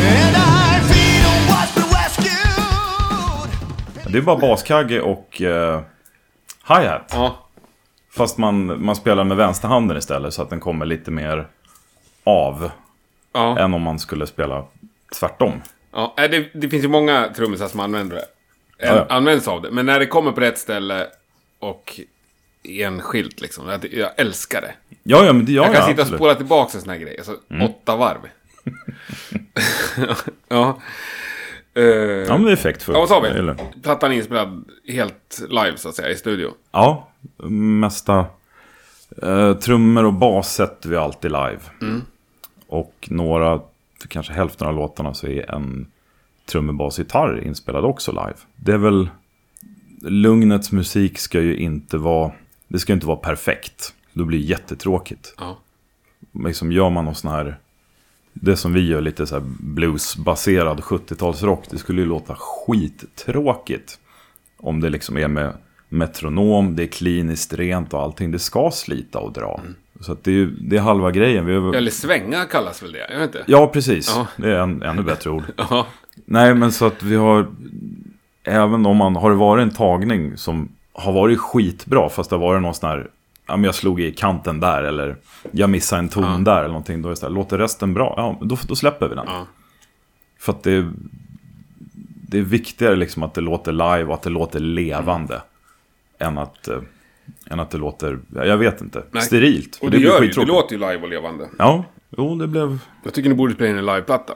C: And I feel what's been rescued.
B: Det är bara baskagge och eh, hi-hat.
A: Ja,
B: Fast man, man spelar med vänsterhanden istället så att den kommer lite mer av.
A: ja,
B: Än om man skulle spela tvärtom.
A: ja. Nej, Det, det finns ju många trummisar som använder det. Äh,
B: Ja, ja.
A: Används av det. Men när det kommer på rätt ställe och enskilt liksom. Jag, jag älskar det.
B: Ja, ja, men det gör
A: Jag kan sitta och
B: absolut. Mm.
A: spola tillbaka en sån här grej. Alltså, åtta varv. ja. Eh,
B: Ja, men det är effektfullt.
A: Ja, vad sa
B: Jag
A: vi?
B: gillar.
A: Plattan är inspelad helt live, så att säga, i studio.
B: Ja, mesta eh, trummor och bas sätter vi alltid live. Och några, för kanske hälften av låtarna så är en trummor, bas, gitarr inspelad också live. Det är väl, lugnets musik ska ju inte vara, det ska ju inte vara perfekt. Då blir det jättetråkigt.
A: Ja.
B: Liksom gör man någon sån här, det som vi gör lite så här bluesbaserad 70-talsrock, det skulle ju låta skittråkigt. Om det liksom är med metronom, det är kliniskt rent och allting. Det ska slita och dra. Så att det, är, ju- det är halva grejen. Vi är,
A: Eller svänga kallas väl det? Jag vet inte.
B: ja, precis.
A: Ja.
B: Det är en, ännu bättre ord.
A: Ja.
B: Nej, men så att vi har... Även om man har det varit en tagning som har varit skitbra, fast det har varit någon sån här... Ja, men jag slog i kanten där, eller jag missade en ton där, eller någonting. Då är det så här, låter resten bra? Ja, då, då släpper vi den.
A: Ja.
B: För att det... Det är viktigare liksom att det låter live och att det låter levande. Än, att, eh, än att det låter, ja, jag vet inte,
A: Nej.
B: sterilt. För
A: Och det,
B: blir
A: gör ju, det
B: skittråkigt.
A: låter ju live och levande.
B: Ja, jo det blev...
A: Jag tycker ni borde spela in en liveplatta.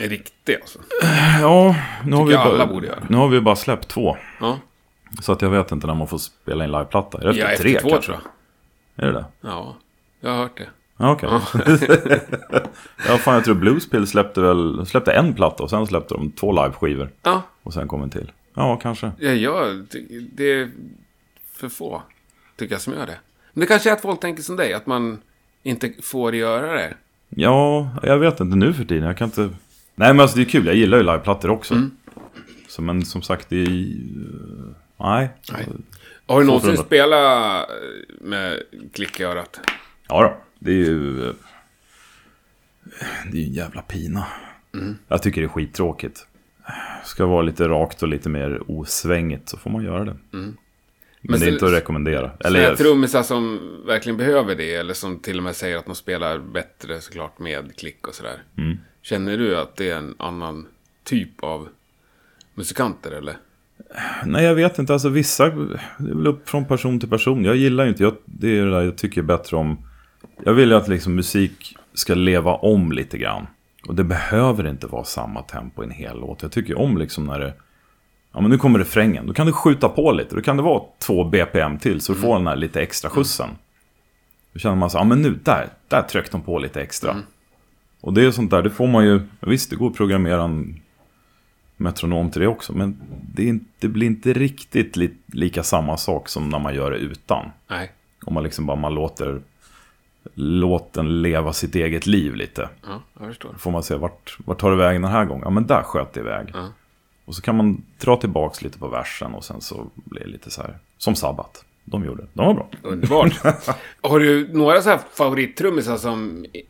A: En riktig, alltså.
B: Ja, nu har, vi
A: jag alla
B: bara,
A: borde göra.
B: nu har vi bara släppt två.
A: Ja.
B: Så att jag vet inte när man får spela in liveplatta. Är det efter
A: Ja,
B: tre
A: efter två,
B: kanske?
A: tror jag.
B: Är det det?
A: Ja, jag har hört det.
B: Ja, okej. ja, fan jag tror Bluespill släppte väl, de släppte en platta och sen släppte de två liveskivor.
A: Ja,
B: Och sen kom en till. Ja, kanske.
A: ja jag, ty- det är för få, tycker jag, som gör det. Men det kanske är att folk tänker som dig, att man inte får göra det.
B: Ja, jag vet inte nu för tiden. Jag kan inte... Nej, men alltså det är kul. Jag gillar ju liveplattor också.
A: Mm.
B: Så, men som sagt, det är... eh, Nej.
A: Nej. Har du någonsin
B: förundrat.
A: spelat eh, med klick i örat?
B: Ja då, det är ju... eh, Det är ju en jävla pina. Jag tycker det är skittråkigt. Ska vara lite rakt och lite mer osvängigt så får man göra det. Men,
A: Men
B: det är
A: sen-
B: inte att rekommendera.
A: Eller
B: Eller,
A: trummisar som verkligen behöver det, eller som till och med säger att de spelar bättre såklart med klick och sådär. Känner du att det är en annan typ av musikanter, eller?
B: nej, jag vet inte. Alltså vissa... Det är väl upp från person till person. Jag gillar ju inte... Jag, det är det där jag tycker bättre om... Jag vill ju att liksom musik ska leva om lite grann. Och det behöver inte vara samma tempo i en hel låt. Jag tycker ju om liksom när det... Ja men nu kommer refrängen, då kan du skjuta på lite, då kan det vara två BPM till så du får den här lite extra skjutsen. Då känner man så, ja men nu, där, där tryckte de på lite extra. Och det är sånt där, det får man ju, visst det går att programmera en metronom till det också, men det, är inte, det blir inte riktigt li, lika samma sak som när man gör det utan.
A: Nej.
B: Om man liksom bara man låter låt den leva sitt eget liv lite.
A: Ja, jag förstår.
B: Får man se, vart, vart tar det vägen den här gången? Ja, men där sköt det iväg. Och så kan man dra tillbaks lite på versen och sen så blir det lite så här, som Sabbat. De gjorde, de var bra.
A: Underbart. Har du några så här favorittrummisar som i-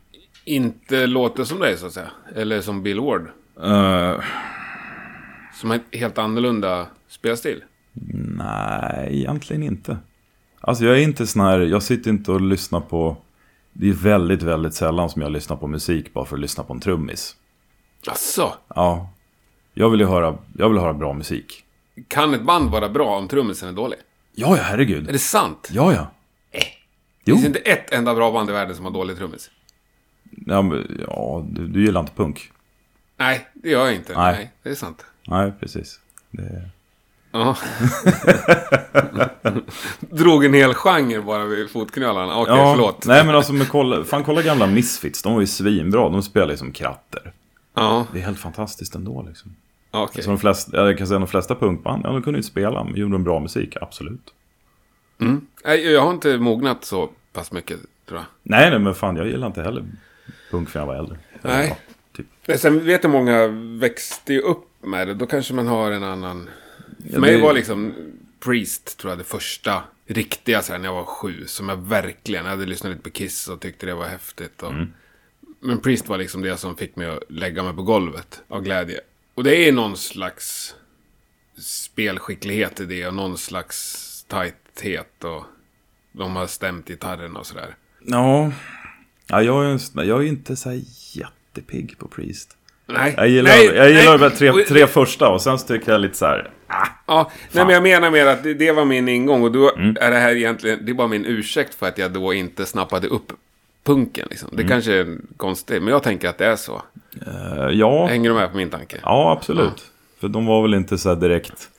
A: inte låter som dig, så att säga? Eller som Bill Ward?
B: Eh,
A: Som har en helt annorlunda spelstil?
B: Nej, egentligen inte. Alltså jag är inte sån här, jag sitter inte och lyssnar på... Det är väldigt, väldigt sällan som jag lyssnar på musik bara för att lyssna på en trummis.
A: Asså,
B: Ja. Jag vill ju höra, jag vill höra bra musik.
A: kan ett band vara bra om trummisen är dålig?
B: Ja, ja,
A: Är
B: herregud.
A: det sant?
B: Ja, ja.
A: Det
B: Jo.
A: finns inte ett enda bra band i världen som har dålig trummis.
B: Ja, men, ja du, du gillar inte punk.
A: Nej, det gör jag inte. Nej,
B: Nej.
A: det är sant.
B: Nej, precis. Det...
A: Ja. Drog en hel genre bara vid fotknölarna. Okej,
B: Ja,
A: förlåt.
B: Nej, men alltså, men kolla, fan kolla gamla Misfits. De var ju svinbra. De spelade ju som kratter.
A: Ja,
B: Det är helt fantastiskt ändå liksom.
A: okej.
B: Så de flesta, jag kan säga de flesta punkband, ja de kunde ju inte spela, men gjorde de bra musik, absolut.
A: Nej, jag har inte mognat så pass mycket, tror jag.
B: Nej, nej men fan jag gillar inte heller punk för jag var äldre. Eller,
A: Nej.
B: ja, typ.
A: Men Sen vet jag många växte ju upp med det. Då kanske man har en annan... För
B: Ja,
A: mig
B: det-
A: var liksom Priest, tror jag, det första riktiga så här, när jag var sju. Som jag verkligen... Jag hade lyssnat lite på Kiss och tyckte det var häftigt. Och...
B: Mm.
A: Men Priest var liksom det som fick mig att lägga mig på golvet av glädje. Och det är någon slags spelskicklighet i det och någon slags tajthet och de har stämt gitarren och sådär.
B: Ja. ja, jag är, en sån- jag är inte så här jättepigg på Priest.
A: Nej,
B: Jag gillar,
A: nej,
B: jag gillar
A: nej.
B: de tre,
A: Och-
B: tre första och sen så tycker jag lite så här.
A: Ja, nej, men jag menar mer att det, det var min ingång och då
B: Mm.
A: är det här egentligen, det är bara min ursäkt för att jag då inte snappade upp punken liksom.
B: Mm.
A: Det kanske är konstigt, men jag tänker att det är så.
B: eh, Ja,
A: Hänger du med på min tanke?
B: ja absolut. För de var väl inte så här direkt.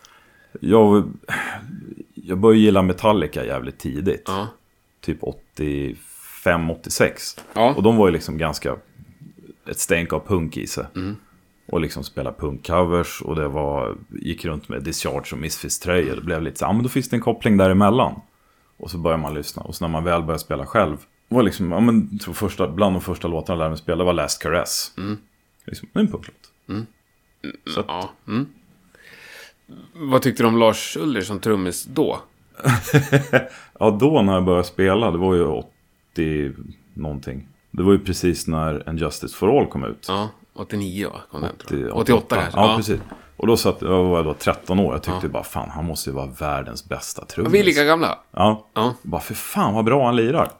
B: Jag, jag började gilla Metallica jävligt tidigt.
A: Ja.
B: Typ 85, 86.
A: Ja.
B: Och de var ju liksom ganska ett stänk av punk i sig.
A: Mm.
B: Och liksom spela punkcovers och det var, gick runt med Discharge och Misfits-tröjor. Det blev lite så, ja men då finns det en koppling däremellan. Och så börjar man lyssna. Och så när man väl börjar spela själv. Var liksom, ja men jag tror första, bland de första låtarna jag lärde mig spela var Last Caress.
A: Mm.
B: Liksom, en punklåt. Så att,
A: Ja. Mm. Vad tyckte du om Lars Ulrich som trummis då?
B: Ja, då när jag började spela, det var ju 80 någonting. Det var ju precis när En Justice for All kom ut.
A: Ja, 89 va? Kom den, tror jag.
B: 88,
A: 88 kanske?
B: Ja, precis. Och då satt, jag var jag då 13 år. Jag tyckte bara, fan, han måste ju vara världens bästa trummis.
A: Vi är lika gamla.
B: Ja.
A: Ja.
B: Bara, för fan vad bra han lirar.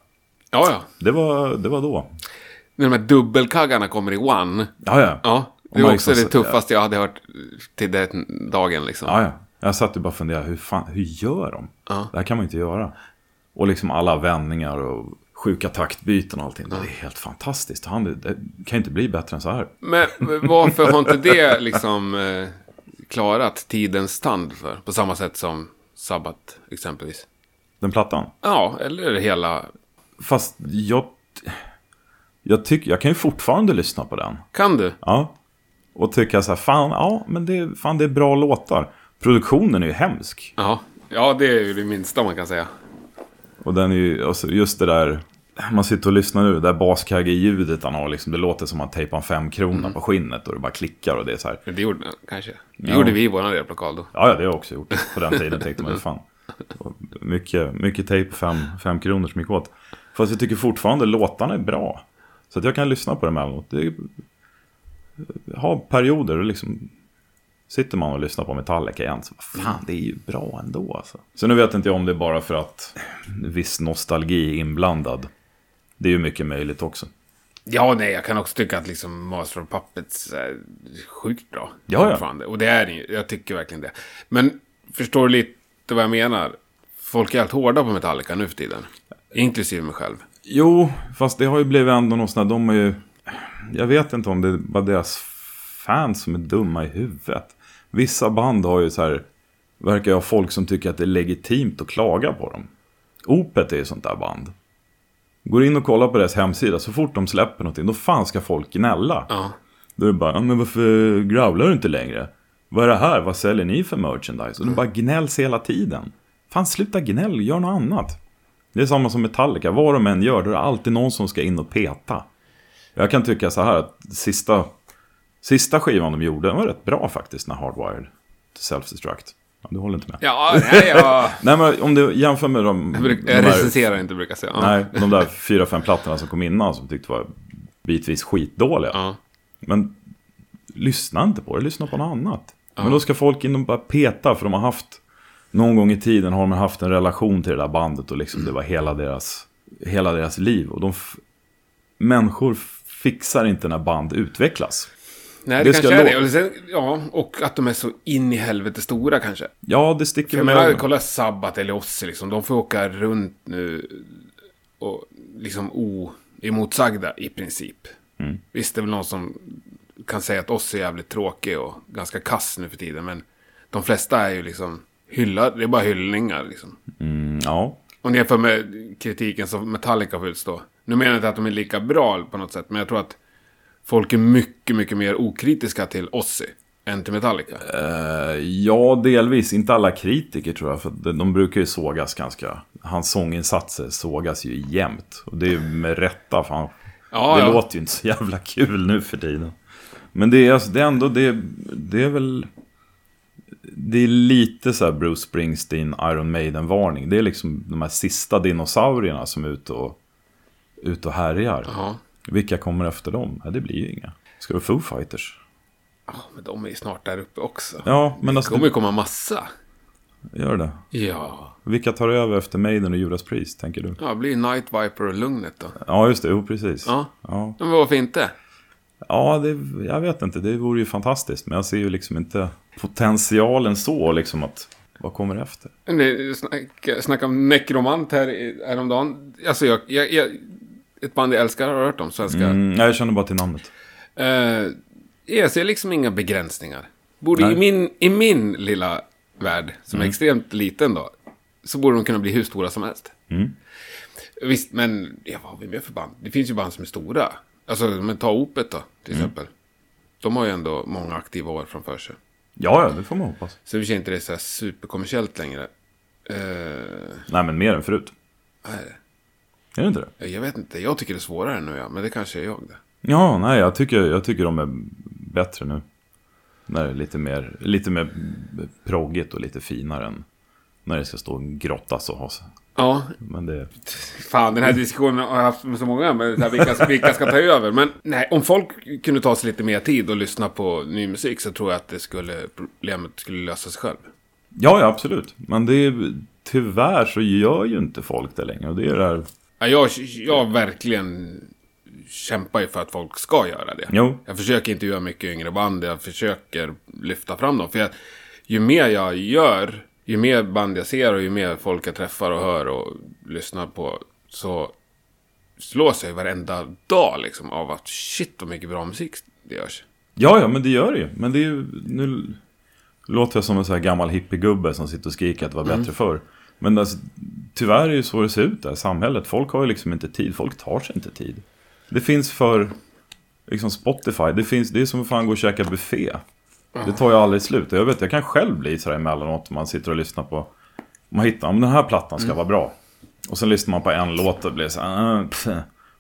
A: Ja, ja.
B: Det var, det var då.
A: När de här dubbelkaggarna kommer i One.
B: Ja, ja.
A: Ja, det
B: Om man
A: var också det
B: liksom så-
A: tuffaste jag hade hört till den dagen liksom.
B: ja, ja. Jag satt och bara funderade, hur fan, hur gör de?
A: Ja.
B: Det här kan man ju inte göra. Och liksom alla vändningar och sjuka taktbyten och allting. Det är helt fantastiskt. Han, det, det kan ju inte bli bättre än så här.
A: Men varför har inte det liksom eh, klarat tidens tand för? På samma sätt som Sabbat exempelvis.
B: Den plattan.
A: Ja, eller hela...
B: Fast jag... Jag, tyck, jag kan ju fortfarande lyssna på den.
A: Kan du?
B: Ja. Och tycka så här, fan, ja, men det, är- fan, det är bra låtar. Produktionen är ju hemsk.
A: Ja. Ja, det är ju det minsta man kan säga.
B: Och den är ju, alltså, just det där, man sitter och lyssnar nu, det där baskagge-ljudet han har, liksom, det låter som att han tejpar en femkrona på skinnet och det bara klickar och det är så här.
A: Det gjorde kanske. Det gjorde vi i våran replokal då.
B: Ja, ja, det har jag också gjort. På den tiden tänkte man, fan. Och Mycket, mycket tejp, fem, fem kronor som gick åt. Fast jag tycker fortfarande låtarna är bra. Så att jag kan lyssna på dem emellanåt. Det är, ha perioder och liksom... Sitter man och lyssnar på Metallica igen så bara, fan det är ju bra ändå alltså. Så nu vet inte jag om det är bara för att viss nostalgi är inblandad. Det är ju mycket möjligt också.
A: Ja, nej, jag kan också tycka att liksom Master of Puppets är sjukt bra.
B: Ja, ja.
A: Fortfarande. Och det är det ju. Jag tycker verkligen det. Men förstår du lite vad jag menar? Folk är helt hårda på Metallica nu för tiden. Inklusive mig själv.
B: Jo, fast det har ju blivit ändå någon sån här, de är ju... Jag vet inte om det är bara deras fans som är dumma i huvudet. Vissa band har ju så här, verkar ju ha folk som tycker att det är legitimt att klaga på dem. Opet är ju sånt där band. Går in och kollar på deras hemsida, så fort de släpper någonting, då fan ska folk gnälla.
A: Ja.
B: Då är det bara, "Ja, men varför growlar du inte längre? Vad är det här? Vad säljer
A: Mm.
B: ni för merchandise? Och de bara gnälls hela tiden. Fan, sluta gnäll, gör något annat. Det är samma som Metallica, vad de än gör, då är det alltid någon som ska in och peta. Jag kan tycka så här att sista, sista skivan de gjorde, den var rätt bra faktiskt, när Hardwired to Self-Destruct. Ja, du håller inte med?
A: Ja, nej, jag,
B: Nej, men om du jämför med de...
A: jag, bruk-
B: de
A: jag
B: här-
A: recenserar inte brukar jag säga. Ja.
B: Nej, de där fyra, fem plattorna som kom innan som tyckte var bitvis skitdåliga.
A: Ja.
B: Men lyssna inte på det, lyssna på något annat. Men då ska folk in och bara peta för de har haft, någon gång i tiden har de haft en relation till det där bandet och liksom det var hela deras, hela deras liv. Och de, f- människor fixar inte när band utvecklas.
A: Nej, det,
B: Det
A: kanske
B: ska
A: är
B: jag
A: det.
B: lova.
A: Och, sen, ja, och att de är så in i helvete stora kanske.
B: Ja, det sticker
A: Jag
B: väl
A: menar,
B: över.
A: kolla Sabbat eller Ozzy liksom. De får åka runt nu och liksom oemotsagda i princip.
B: Mm.
A: Visst, det är väl någon som kan säga att Ozzy är jävligt tråkig och ganska kass nu för tiden. Men de flesta är ju liksom hyllade. Det är bara hyllningar liksom.
B: Mm, ja,
A: Om ni jämför med kritiken som Metallica får utstå. Nu menar jag inte att de är lika bra på något sätt, men jag tror att folk är mycket, mycket mer okritiska till Ozzy än till Metallica.
B: Eh, Ja, delvis. Inte alla kritiker tror jag, för de, de brukar ju sågas ganska. Hans sånginsatser sågas ju jämt. Och det är ju med rätta, för han,
A: Ja,
B: det
A: ja.
B: låter ju inte så jävla kul nu för tiden. Men det är, alltså, det är ändå, det, det är väl... Det är lite så här Bruce Springsteen, Iron Maiden-varning. Det är liksom de här sista dinosaurierna som är ute och, ute och härjar.
A: Ja,
B: Vilka kommer efter dem? Ja, det blir ju inga. Ska det Foo Fighters?
A: Ja, men de är ju snart där uppe också.
B: Ja, men
A: Det
B: alltså,
A: kommer
B: det,
A: ju komma massa.
B: gör det.
A: Ja.
B: Vilka tar över efter Maiden och Judas Priest, tänker du?
A: Ja, det blir ju Night Viper och Lugnet då.
B: Ja, just det. Jo, precis.
A: Ja.
B: ja.
A: Men varför inte?
B: Ja, det, jag vet inte. Det vore ju fantastiskt. Men jag ser ju liksom inte potentialen så, liksom att... Vad kommer efter?
A: Nu snack, snacka om nekromant här i- häromdagen. Alltså, jag, jag, jag, ett band jag älskar har hört om, svenska.
B: Mm, nej, jag känner bara till namnet.
A: Eh, jag ser liksom inga begränsningar. Borde i
B: Nej.
A: min, I min lilla värld, som är extremt liten då, så borde de kunna bli hur stora som helst. Visst, men ja, vad har vi mer för band? Det finns ju band som är stora. Alltså, men ta Opet då, till exempel. De har ju ändå många aktiva år framför sig.
B: Ja, ja, det får man hoppas.
A: Så i och för sig inte det är så här superkommersiellt längre. Eh,
B: Nej, men mer än förut.
A: vad är
B: Är det inte det?
A: det? jag vet inte, jag tycker det är svårare nu, ja. men det kanske är jag det.
B: Ja, nej, jag tycker, jag tycker de är bättre nu. När det är lite mer, lite mer proggigt och lite finare än när det ska stå en grotta så ha sig.
A: Ja,
B: Men det...
A: Fan, den här diskussionen har jag haft med så många, men så här, vilka, vilka ska ta över? Men nej, om folk kunde ta sig lite mer tid och lyssna på ny musik så tror jag att det skulle, problemet skulle lösa sig själv.
B: Ja, ja, absolut. Men det är, tyvärr så gör ju inte folk det längre. Och det är det här...
A: Ja, Jag, jag verkligen kämpar ju för att folk ska göra det.
B: Jo.
A: Jag försöker inte göra mycket yngre band, jag försöker lyfta fram dem. För jag, ju mer jag gör, ju mer band jag ser och ju mer folk jag träffar och hör och lyssnar på, så slås jag ju varenda dag liksom av att shit vad mycket bra musik det görs.
B: Ja, ja, men det gör det ju. Men det är ju... Nu låter jag som en sån här gammal hippiegubbe som sitter och skriker att det var bättre förr. Men alltså, tyvärr är det ju så det ser ut där i samhället. Folk har ju liksom inte tid. Folk tar sig inte tid. Det finns för... Liksom Spotify. Det, finns, det är som att fan gå och käka buffé. Det tar ju aldrig slut. Och jag vet, jag kan själv bli sådär emellanåt. om Man sitter och lyssnar på... Man hittar, om den här plattan ska vara bra. Och sen lyssnar man på en låt och blir så här, "Ah, pff."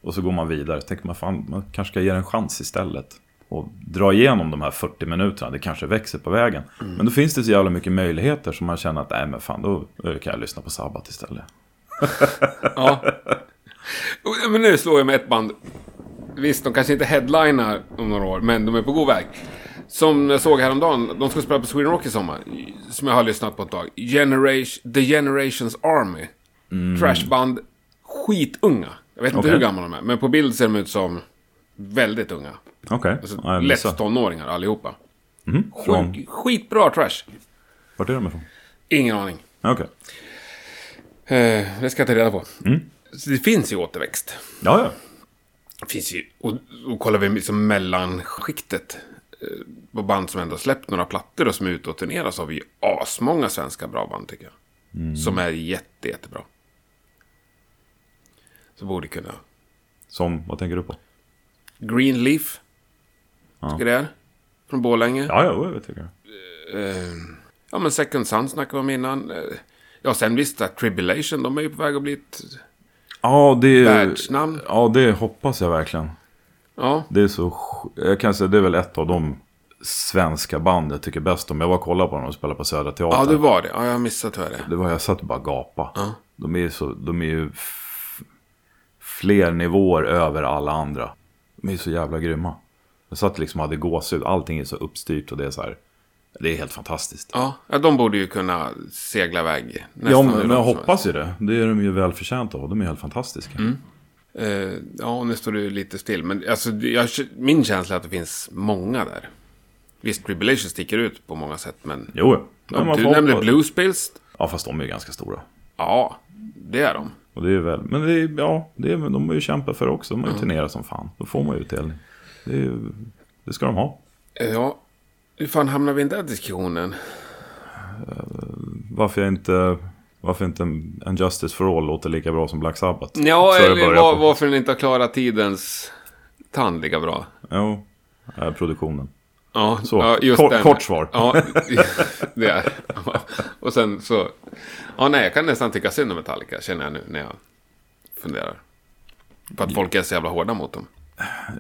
B: Och så går man vidare. Så tänker man, fan, man kanske ska ge den en chans istället. Och dra igenom de här 40 minuterna. Det kanske växer på vägen. Men då finns det så jävla mycket möjligheter som man känner att, nej men fan, då då kan jag lyssna på Sabbat istället.
A: Ja. Och- Men nu slår jag med ett band. Visst, de kanske inte headlinar om några år, men de är på god väg. Som jag såg häromdagen, de ska spela på Sweden Rock i sommar. Som jag har lyssnat på ett tag. Generation, The Generations Army. Trashband. Skitunga. Jag vet inte
B: Mm. Okej.
A: hur gamla de är, men på bild ser de ut som väldigt unga.
B: Okej.
A: Alltså,
B: Ja, jag missar. Mhm,
A: lätt tonåringar allihopa.
B: Från-
A: Sjuk, skitbra trash.
B: Vart är de ifrån?
A: Ingen aning.
B: Okej.
A: Eh, det ska jag ta reda på.
B: Mm.
A: Så det finns ju återväxt.
B: Ja, ja.
A: finns ju, och, och kollar vi liksom mellanskiktet eh, på band som ändå har släppt några plattor och som är ute och turnerar så har vi ju asmånga svenska bra band tycker jag.
B: Mm.
A: Som är jätte, jättebra. Så borde kunna.
B: Som, vad tänker du på?
A: Greenleaf.
B: Ja.
A: Tycker det är. Från Borlänge.
B: Ja, ja, jo, jag vet inte.
A: Eh, ja men Second Sun snackade vi om innan. Eh, Ja, sen visst, att Tribulation, de är ju på väg att bli ett...
B: Ja, det...
A: Världsnamn.
B: Ja, det hoppas jag verkligen.
A: Ja,
B: Det är så... sj- Jag kan säga, det är väl ett av de svenska band jag tycker bäst om. Jag var och kollade på dem och spelade på Södra Teatern.
A: ja det var det. Ja, jag har missat tyvärr det.
B: Det var, jag satt och bara gapade. De är ju så, de är ju f- fler nivåer över alla andra. De är så jävla grymma. Jag satt liksom och hade gåshud. Allting är så uppstyrt och det är så här. Det är helt fantastiskt.
A: Ja, ja, de borde ju kunna segla iväg. nästan
B: Ja,
A: hur långt
B: men jag
A: som
B: hoppas ju det. Det är de ju väl förtjänta av. De är helt fantastiska.
A: Mm. Eh, ja, nu står du lite still. Men alltså, det- jag, min känsla är att det finns många där. Visst, Tribulation sticker ut på många sätt, men...
B: Jo, ja. Men man
A: du
B: får
A: nämnde
B: hoppas.
A: Bluespills.
B: Ja, fast de är ju ganska stora.
A: Ja, det är de.
B: Och det är väl, men det är, ja, det är, men de har ju kämpat för det också. De har ju turnerat som fan. Då får man ju utdelning. Det, är, ju- det ska de ha.
A: Eh, Ja, hur fan hamnar vi i den där diskussionen?
B: Varför jag inte... Varför inte en en Justice for All låter lika bra som Black Sabbath?
A: Ja,
B: Så jag
A: eller
B: börjar
A: var,
B: på-
A: varför den inte har klarat tidens tand lika bra.
B: Jo, eh, produktionen.
A: Ja,
B: Så,
A: ja just
B: kort-
A: den.
B: kort svar.
A: Ja, det är. Och sen så... Ja, nej, jag kan nästan tycka synd om Metallica, känner jag nu när jag funderar. På att folk är så jävla hårda mot dem.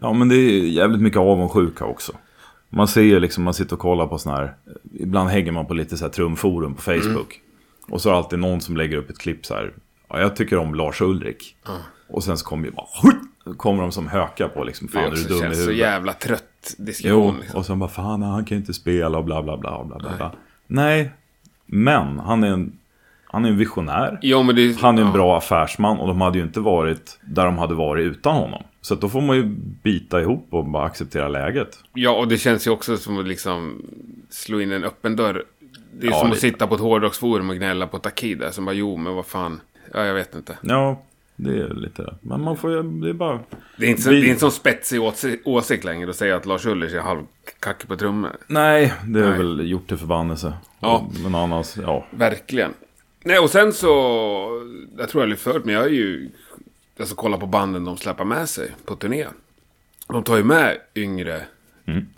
B: Ja, men det är jävligt mycket avundsjuka också. Man ser ju liksom, man sitter och kollar på sån här... Ibland hänger man på lite så här trumforum på
A: Mm.
B: Facebook. Och så är det alltid någon som lägger upp ett klipp så här. Ja, jag tycker om Lars Ulrik. Och sen så kommer ju bara... Kommer de som hökar på liksom.
A: Det
B: Fan,
A: är
B: är du
A: också
B: dum i
A: känns så
B: huvudet?
A: jävla trött
B: Jo,
A: diskussion. liksom.
B: och sen bara fan han kan ju inte spela och bla bla bla bla bla. bla. Nej, men han är en, han är en visionär.
A: Jo, men det...
B: Han är en
A: ja.
B: bra affärsman och de hade ju inte varit där de hade varit utan honom. Så att då får man ju bita ihop och bara acceptera läget.
A: Ja, och det känns ju också som att liksom slå in en öppen dörr. Det är
B: Ja,
A: som att
B: lite.
A: sitta på ett hårdrocksforum och gnälla på Takida. Som bara, jo, men vad fan. Ja, jag vet inte.
B: Ja, det är lite det. Men man får ju, det är bara...
A: Det är inte så,
B: Vi-
A: det är inte så spetsig åsi- åsikt längre att säga att Lars Ulrich är halvkackig på trummor.
B: Nej, det är
A: Nej.
B: väl gjort till förbannelse.
A: Ja.
B: Men annars, ja.
A: Verkligen. Nej, och sen så... Jag tror jag lyfte förut, men jag är ju... Alltså kolla på banden de släpper med sig på turné. De tar ju med yngre,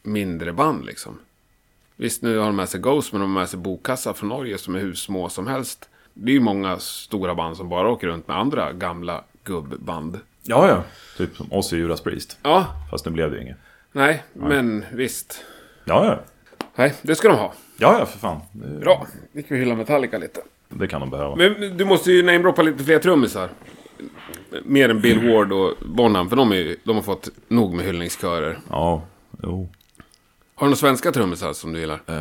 A: mindre band liksom. Visst, nu har de med sig Ghost, men de har med sig Bokassa från Norge som är hur små som helst. Det är ju många stora band som bara åker runt med andra gamla gubbband.
B: Ja, ja. Typ som oss i Judas Priest.
A: Ja,
B: Fast nu blev det ju inget.
A: nej, men visst.
B: Ja, ja.
A: Nej, det ska de ha.
B: Ja, ja, för fan. Det,
A: Bra, vi kan hylla Metallica lite.
B: det kan de behöva.
A: Men du måste ju namedroppa lite fler trummisar. Mer än Bill Ward och Bonham, för de, är ju, de har fått nog med hyllningskörer.
B: Ja, jo.
A: Har du några svenska trummisar som du gillar? Ja,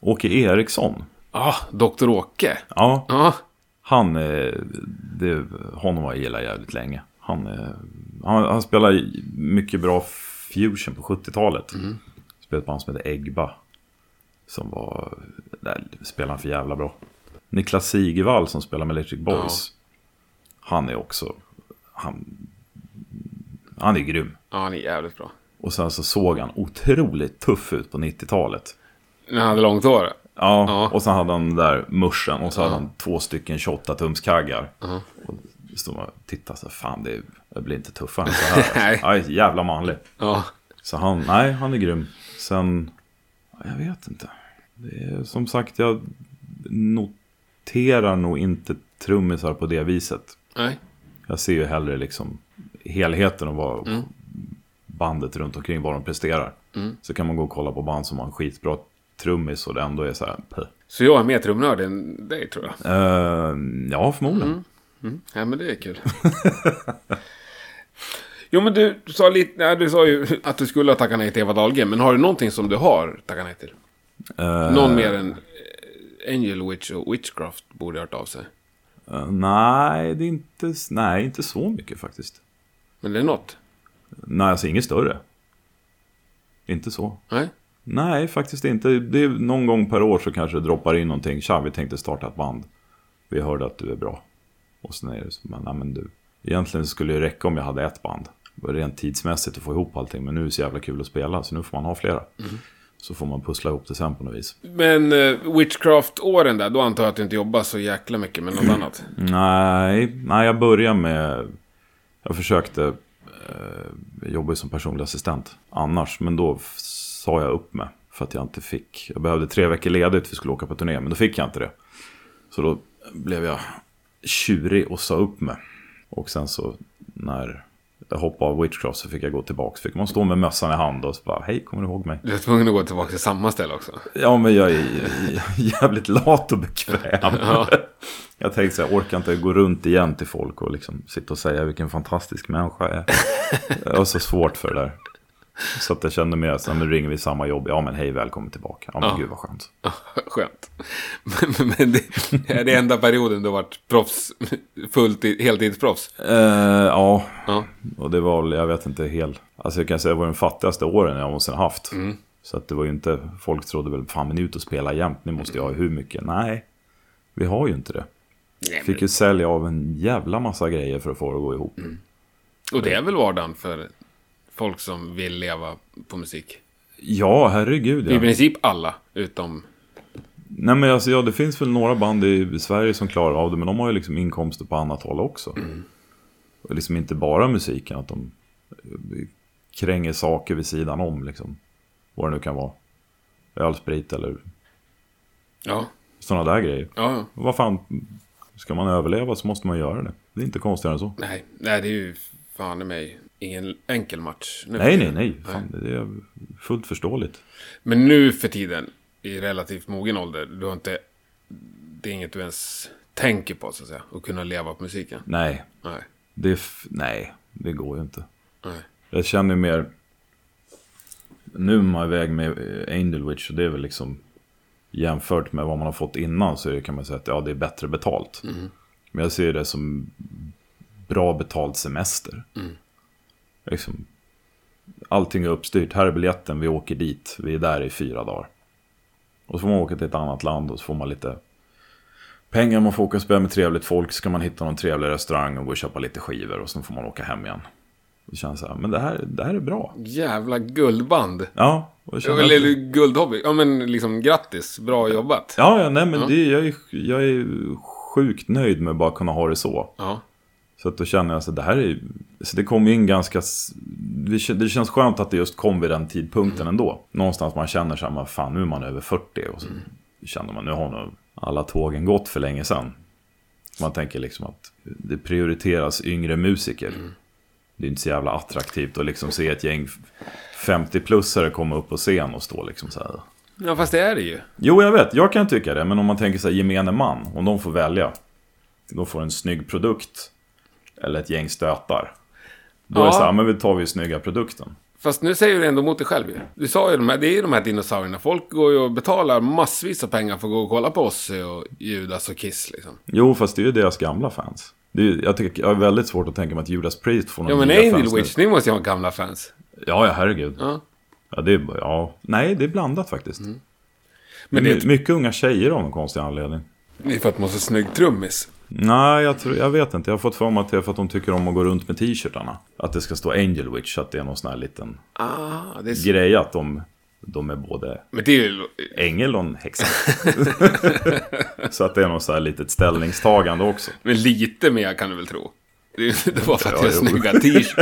B: Åke Eriksson.
A: ah, Dr. Åke.
B: Ja,
A: Ja,
B: han... eh, Det, honom har jag gillat jävligt länge. Han, eh, han, han spelar mycket bra fusion på 70-talet. Spelade ett band som hette Egba. Som var... Där spelade han för jävla bra. Niklas Sigevall som spelar med Electric Boys. Han är också... Han, han är grym.
A: ja han är jävligt bra.
B: Och sen så såg han otroligt tuff ut på 90-talet.
A: När han hade långt hår.
B: Ja,
A: Ja.
B: och sen hade han den där muschen och så hade han två stycken 28-tumskaggar. Och stod man och tittade så här, fan det, är, jag blir inte tuffare än så
A: Nej.
B: här. Aj, jävla manlig.
A: Ja,
B: Så han, nej, han är grym. Sen, ja, jag vet inte. Det är, som sagt, jag noterar nog inte trummisar på det viset.
A: nej.
B: Jag ser ju hellre liksom helheten och vad
A: Mm.
B: bandet runt omkring, vad de presterar. Så kan man gå och kolla på band som har en skitbra trummis och det ändå är så här, "Puh."
A: Så jag är mer trumnörd än dig, tror jag.
B: Eh, ja, förmodligen.
A: Ja, men det är kul. jo, men du sa lite... Nej, du sa ju att du skulle ha tackat nej till Eva Dahlgren, men har du någonting som du har tackat nej till?
B: Eh,
A: Någon mer än eh, Angel Witch och Witchcraft borde ha hört av sig.
B: eh, nej, det är inte, s- nej, inte så mycket faktiskt.
A: Men det är något.
B: Nej, alltså inget större. Inte så.
A: Nej?
B: Nej, faktiskt inte. Det är någon gång per år så kanske det droppar in någonting. Tja, vi tänkte starta ett band. Vi hörde att du är bra. Och sen är det så, men, nej, men du. Egentligen skulle det räcka om jag hade ett band. Det var Rent tidsmässigt att få ihop allting. Men nu är det så jävla kul att spela, så nu får man ha flera. Så får man pussla ihop det sen på något vis.
A: Men eh, Witchcraft-åren där, då antar jag att du inte jobbar så jäkla mycket med något annat.
B: Nej, nej jag började med... Jag försökte eh, jobba som personlig assistent annars, men då f- sa jag upp mig. För att jag inte fick. Jag behövde tre veckor ledigt för vi skulle åka på turné. Men då fick jag inte det. Så då blev jag tjurig och sa upp mig. Och sen så när jag hoppade av Witchcraft så fick jag gå tillbaka. Fick man stå med mössan i hand och så bara hej kommer du ihåg mig?
A: Du är tvungen att gå tillbaka till samma ställe också.
B: Ja, men jag är j- j- jävligt lat och bekväm. Jag tänkte så här, orkar inte gå runt igen till folk och liksom sitta och säga vilken fantastisk människa jag är. Jag har så svårt för det där. Så att jag kände mer så här, nu ringer vi samma jobb. Ja, men hej, välkommen tillbaka. Ja, men gud vad skönt.
A: Ja, Ah, Skönt. Men, men- men det, det är det enda perioden du har varit proffs, fulltid, heltidsproffs.
B: Eh, ja,
A: Ja.
B: och det var väl, jag vet inte, helt... Alltså jag kan säga, det var den fattigaste åren jag någonsin haft. Så att det var ju inte, folk trodde väl, fan men ni är ute och spelar jämt, nu måste jag ha hur mycket? Nej, vi har ju inte det.
A: Nej,
B: Fick ju sälja av en jävla massa grejer för att få det att gå ihop.
A: Och
B: Mm.
A: det är väl vardagen för folk som vill leva på musik.
B: Ja, herregud
A: I
B: ja.
A: princip alla, utom...
B: Nej men alltså, ja, det finns väl några band i Sverige som klarar av det, men de har ju liksom inkomster på annat håll också. Och liksom inte bara musiken, att de eh, kränger saker vid sidan om liksom. Vad det nu kan vara. Öl, sprit eller
A: Ja,
B: sådana där grejer.
A: ja, ja.
B: Och Vad fan, ska man överleva så måste man göra det. Det är inte konstigare än så.
A: Nej, nej, det är ju fan i mig ingen enkel match. Nu
B: Nej,
A: för
B: nej,
A: tiden.
B: nej. Fan, det är fullt förståeligt.
A: Men nu för tiden, i relativt mogen ålder, du har inte... Det är inget du ens tänker på, så att säga. Att kunna leva på musiken.
B: Nej,
A: Nej,
B: det, är f- nej, det går ju inte.
A: nej.
B: Jag känner ju mer... Nu är man iväg med eh, Angel Witch och det är väl liksom... Jämfört med vad man har fått innan så är det, kan man säga att ja, det är bättre betalt. Men jag ser det som bra betalt semester. Liksom, allting är uppstyrt. Här är biljetten, vi åker dit, vi är där i fyra dagar. Och så får man åka till ett annat land och så får man lite pengar. Man får åka och spela med trevligt folk. Ska man hitta någon trevlig restaurang och gå och köpa lite skivor och sen får man åka hem igen. Och känna så här, men det här, det här är bra.
A: Jävla guldband.
B: Ja, och känna att-
A: Eller guldhobby. Ja, men liksom grattis. Bra jobbat.
B: ja, ja nej men Det, jag, är, jag är sjukt nöjd med att bara kunna ha det så.
A: Ja.
B: Så att då känner jag så att det här är ju- så det kom in ganska, s- det kän- det känns skönt att det just kom vid den tidpunkten ändå. Någonstans man känner så här, man, fan nu är man över 40 och så känner man nu har nog alla tågen gått för länge sedan. Man tänker liksom att det prioriteras yngre musiker. Det är inte så jävla attraktivt att liksom se ett gäng 50-plussare komma upp på scen och stå liksom så här.
A: ja, fast det är det ju.
B: Jo, jag vet. Jag kan tycka det. Men om man tänker sig gemene man, om de får välja. De får en snygg produkt eller ett gäng stötar. Då är det
A: Ja.
B: så här, men vi tar vi snygga produkten.
A: Fast nu säger du ändå emot dig själv ju. Du sa ju de här, det är ju de här dinosaurierna. Folk går ju och betalar massvis av pengar för att gå och kolla på oss och Judas och Kiss liksom.
B: Jo, fast det är ju deras gamla fans. Det är, ju- jag, tycker, jag har väldigt svårt att tänka mig att Judas Priest får någon
A: Ja men
B: nya
A: Angel
B: fans nu.
A: Witch, ni måste ju ha gamla fans.
B: Ja, ja, herregud. Ja.
A: Ja. Mm.
B: det är, ja. Nej, det är blandat faktiskt.
A: Men
B: Men
A: det-
B: Mycket unga tjejer av någon konstig anledning.
A: Det är för att man har så snygg trummis.
B: Nej, jag, tror, jag vet inte. Jag har fått för mig att det är för att de tycker om att gå runt med t-shirtarna. Att det ska stå Angel Witch, att det är någon sån här liten
A: Ah, det är så...
B: grej att de, de är både
A: Men det är ju...
B: ängel och en häxa. så att det är något så här litet ställningstagande också.
A: Men lite mer kan du väl tro? Det är ju inte bara för att
B: Ja,
A: jag har
B: jo.
A: snygga t-shirts.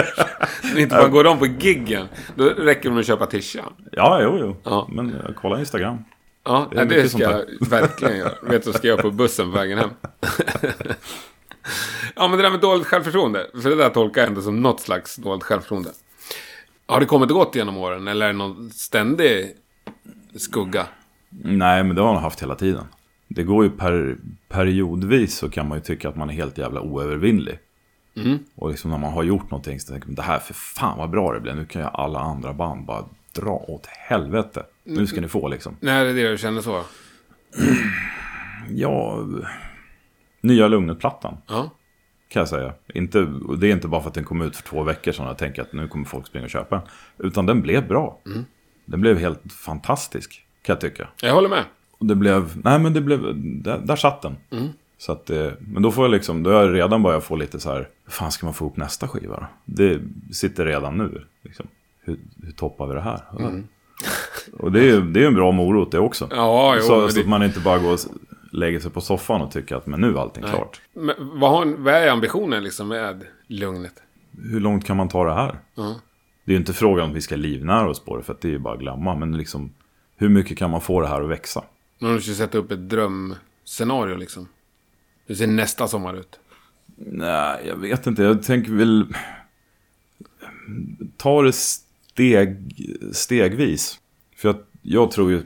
A: Om inte man går om på giggen, då räcker det med att köpa tishan.
B: Ja, jo, jo.
A: Ja.
B: Men eh, kolla Instagram.
A: Ja,
B: är
A: det, det ska
B: mycket sånt
A: jag
B: där.
A: verkligen göra. Vet du vad jag ska göra på bussen på vägen hem? ja, men det där med dåligt självförtroende. För det där tolkar jag ändå som något slags dåligt självförtroende. Har det kommit och gått genom åren? Eller är det någon ständig skugga?
B: Nej, men det har han haft hela tiden. Det går ju per, periodvis så kan man ju tycka att man är helt jävla oövervinnlig. Och liksom när man har gjort någonting så tänker man det här för fan vad bra det blev. Nu kan jag alla andra band bara dra åt helvete. Nu ska ni få liksom.
A: När är det du känner så?
B: Ja, nya Lugnet-plattan.
A: Ja.
B: kan jag säga. Inte, och det är inte bara för att den kom ut för två veckor sedan och jag tänker att nu kommer folk springa och köpa den. Utan den blev bra.
A: Mm.
B: Den blev helt fantastisk, kan jag tycka.
A: Jag håller med.
B: Och det blev, nej men det blev, där, där satt den.
A: Mm.
B: Så att det, men då får jag liksom, då har jag redan börjat få lite så här, hur fan ska man få ihop nästa skiva då? Det sitter redan nu, liksom. Hur, hur toppar vi det här?
A: Mm.
B: Och det är ju det är ju en bra morot det också.
A: Ja, jo,
B: så
A: men
B: så
A: det-
B: att man inte bara går och lägger sig på soffan och tycker att men nu är allting klart.
A: Men vad, har, vad är ambitionen liksom med lugnet?
B: hur långt kan man ta det här? Det är ju inte frågan om vi ska livnära oss på det, för att det är ju bara att glömma. Men liksom, hur mycket kan man få det här att växa?
A: Man måste ju sätta upp ett drömscenario liksom. Hur ser nästa sommar ut?
B: Nej, jag vet inte. Jag tänker väl... Ta det steg, stegvis. För jag, jag tror ju...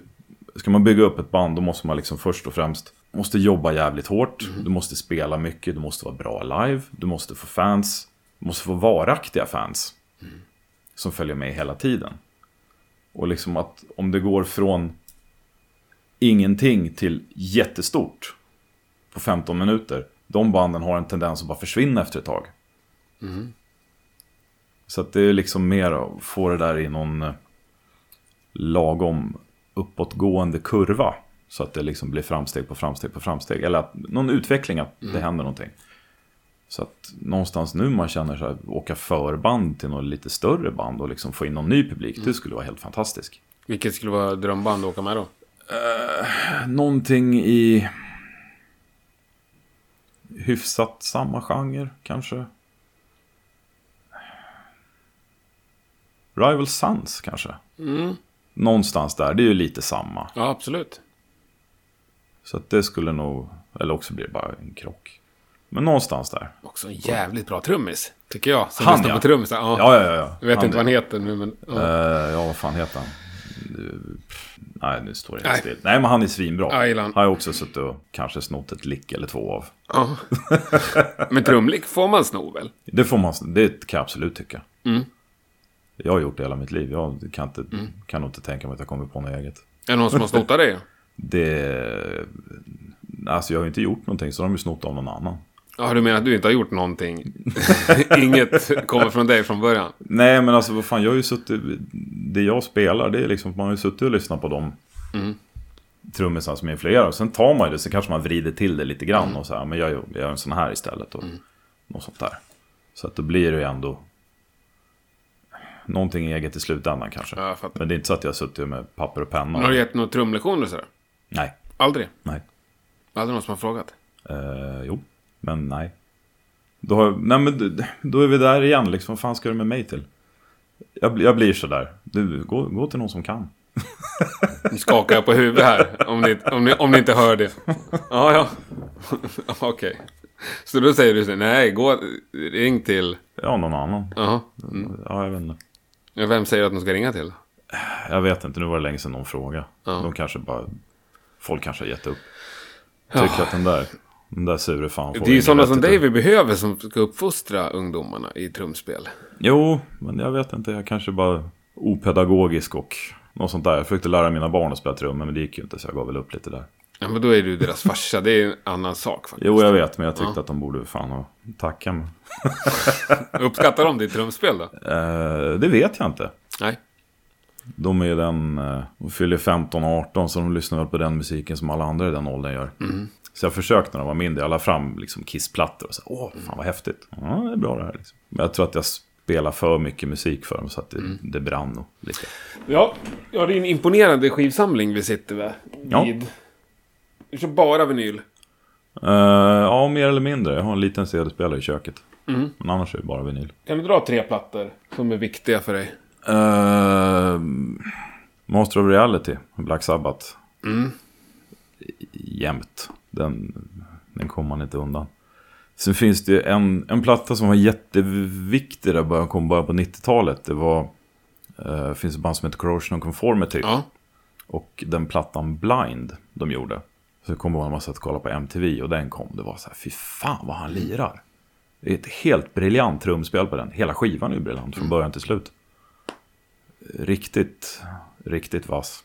B: Ska man bygga upp ett band då måste man liksom först och främst... Måste jobba jävligt hårt. Du måste spela mycket. Du måste vara bra live. Du måste få fans. Du måste få varaktiga fans. Som följer med hela tiden. Och liksom att om det går från ingenting till jättestort på 15 minuter. De banden har en tendens att bara försvinna efter ett tag. Så att det är liksom mer att få det där i någon eh, lagom uppåtgående kurva. Så att det liksom blir framsteg på framsteg på framsteg. Eller att någon utveckling, att det händer någonting. Så att någonstans nu man känner så här, åka förband till något lite större band och liksom få in någon ny publik. Det skulle vara helt fantastiskt.
A: Vilket skulle vara drömband att åka med då?
B: Någonting i hyfsat samma genre kanske. Rival Sons kanske.
A: Mm.
B: Någonstans där, det är ju lite samma.
A: Ja, absolut.
B: Så att det skulle nog, eller också blir det bara en krock. Men någonstans där.
A: Också en jävligt bra trummis, tycker jag. Som
B: Han,
A: lyssnar
B: ja.
A: på trummisar. Ja.
B: Ja, ja, ja. ja.
A: Jag vet
B: Han
A: inte
B: är-
A: vad han heter nu, men... Ja,
B: Eh, ja, vad fan heter han? Nu- pff, Nej, nu står det inte still. Nej, men han är svinbra.
A: Ja, jag gillar han.
B: har jag också suttit och kanske snott ett lick eller två av.
A: ja. men trumlick får man sno väl?
B: Det får man, det kan jag absolut tycka. Jag har gjort det hela mitt liv. Jag kan, inte, kan nog inte tänka mig att jag kommer på något eget.
A: Är det någon som har snott av dig?
B: Det... Alltså jag har ju inte gjort någonting så de har ju snott av någon annan.
A: Ja, du menar att du inte har gjort någonting? Inget kommer från dig från början?
B: Nej men alltså vad fan, jag har ju suttit... Det jag spelar, det är liksom... Man har ju suttit och lyssnat på de
A: Mm.
B: trummisarna som influerar. Och sen tar man ju det, sen kanske man vrider till det lite
A: Mm.
B: grann. Och så här, men jag gör- jag gör en sån här istället. Och något sånt där. Så att då blir det ju ändå... Någonting eget i slutändan kanske.
A: Ja, jag fattar.
B: Men det är inte så att jag har suttit med papper och penna.
A: Har du gett några trumlektioner och sådär?
B: Nej,
A: Aldrig?
B: nej.
A: Aldrig någon som har frågat?
B: Eh, jo, men nej. Då, har, nej men, d- då är vi där igen, liksom. Vad fan ska du med mig till? Jag, bli- jag blir sådär. Du, gå, gå till någon som kan.
A: Nu skakar jag på huvudet här, om ni, om ni, om ni inte hör det. Ja, ja. Okej. Så då säger du så här, nej, gå, ring till...
B: Ja, någon annan.
A: Jaha. Mm.
B: Ja, jag vet inte.
A: Ja, Vem säger att de ska ringa till?
B: Jag vet inte, nu var det länge sedan någon fråga. De kanske bara... Folk kanske har gett upp. Tycker att den där, den där sure fan får
A: Det är ju
B: inget
A: sådana som
B: vettigt
A: dig
B: ut.
A: vi behöver som ska uppfostra ungdomarna i trumspel.
B: Jo, men jag vet inte. Jag kanske bara opedagogisk och något sånt där. Jag försökte lära mina barn att spela trummor, men det gick ju inte så jag gav väl upp lite där.
A: Ja, men då är du deras farsa. Det är en annan sak faktiskt.
B: Jo, jag vet, men jag tyckte att de borde fan ha tacka mig.
A: Uppskattar de ditt trumspel då?
B: Eh, det vet jag inte.
A: Nej.
B: De är ju den, eh, de fyller 15-18 så de lyssnar väl på den musiken som alla andra i den åldern gör. Så jag försökte när de var mindre, jag la fram liksom kissplattor och så åh fan vad häftigt. Ja, det är bra det här liksom. Men jag tror att jag spelar för mycket musik för dem så att det, det brann nog lite.
A: Ja, ja, det är en imponerande skivsamling vi sitter med.
B: Ja.
A: Vid. Du kör bara vinyl.
B: Eh, ja, mer eller mindre. Jag har en liten CD-spelare i köket. Men annars är det bara vinyl.
A: Kan du dra tre plattor som är viktiga för dig?
B: Eh, Master of Reality, Black Sabbath. Jämt. Den, den kommer man inte undan. Sen finns det ju en, en platta som var jätteviktig där början, kom början på 90-talet. Det var, eh, finns ett band som heter Corrosion of Conformity.
A: Ja.
B: Och den plattan Blind de gjorde. Så kom ihåg när man satt och kollade på MTV och den kom. Det var så här, fy fan vad han lirar. Det är ett helt briljant trumspel på den. Hela skivan är ju briljant från början till slut. Riktigt, riktigt vass.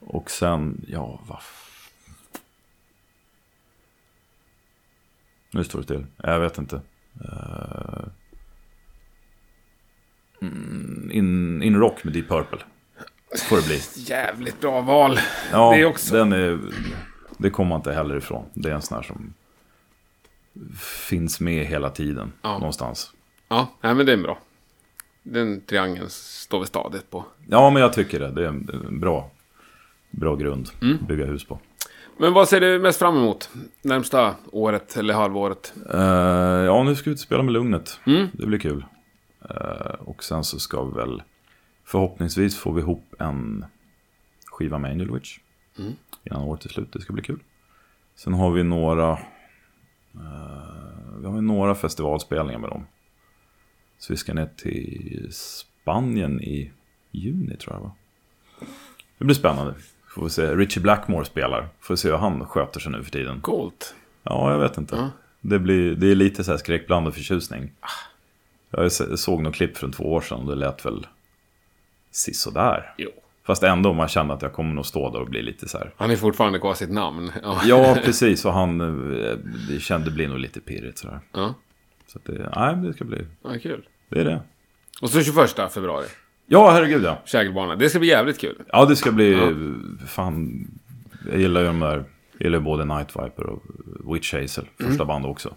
B: Och sen, ja, vad... f- Nu står det still. Jag vet inte. Eh, mm, in, in Rock med Deep Purple. Får det bli.
A: Jävligt bra val.
B: Ja,
A: Det också.
B: den är... Det kommer man inte heller ifrån. Det är en sån här som finns med hela tiden någonstans.
A: Ja, nej, men det är bra. Den triangeln står vi stadigt på.
B: Ja, men jag tycker det. Det är en en bra, bra grund
A: Mm.
B: att bygga hus på.
A: Men vad ser du mest fram emot? Närmsta året eller halvåret?
B: Eh, ja, nu ska vi ut och spela med Lugnet. Det blir kul. Eh, och sen så ska vi väl... Förhoppningsvis får vi ihop en skiva med Angel Witch. Innan året är slut, det ska bli kul. Sen har vi några... eh, vi har ju några festivalspelningar med dem. Så vi ska ner till Spanien i juni tror jag va? Det blir spännande. Får vi se. Richie Blackmore spelar. Får vi se hur han sköter sig nu för tiden.
D: Coolt.
B: Ja, jag vet inte. Det, blir, det är lite så här skräckblandad förtjusning. Jag s- såg något klipp från två år sedan och det lät väl sisådär.
D: Jo.
B: Fast ändå, man kände att jag kommer nog stå där och bli lite så här.
D: Han är fortfarande kvar sitt namn. Ja.
B: Ja, precis. Och han eh, det kände det blir nog lite pirrigt sådär.
D: Ja.
B: Så att det, nej, men det ska bli,
D: ja kul.
B: det är det.
D: Och så 21 februari.
B: Ja, herregud ja.
D: Kägelbana. Det ska bli jävligt kul.
B: Ja, det ska bli... Fan, jag gillar ju de där... Jag gillar ju både Night Viper och Witch Hazel, första bandet också.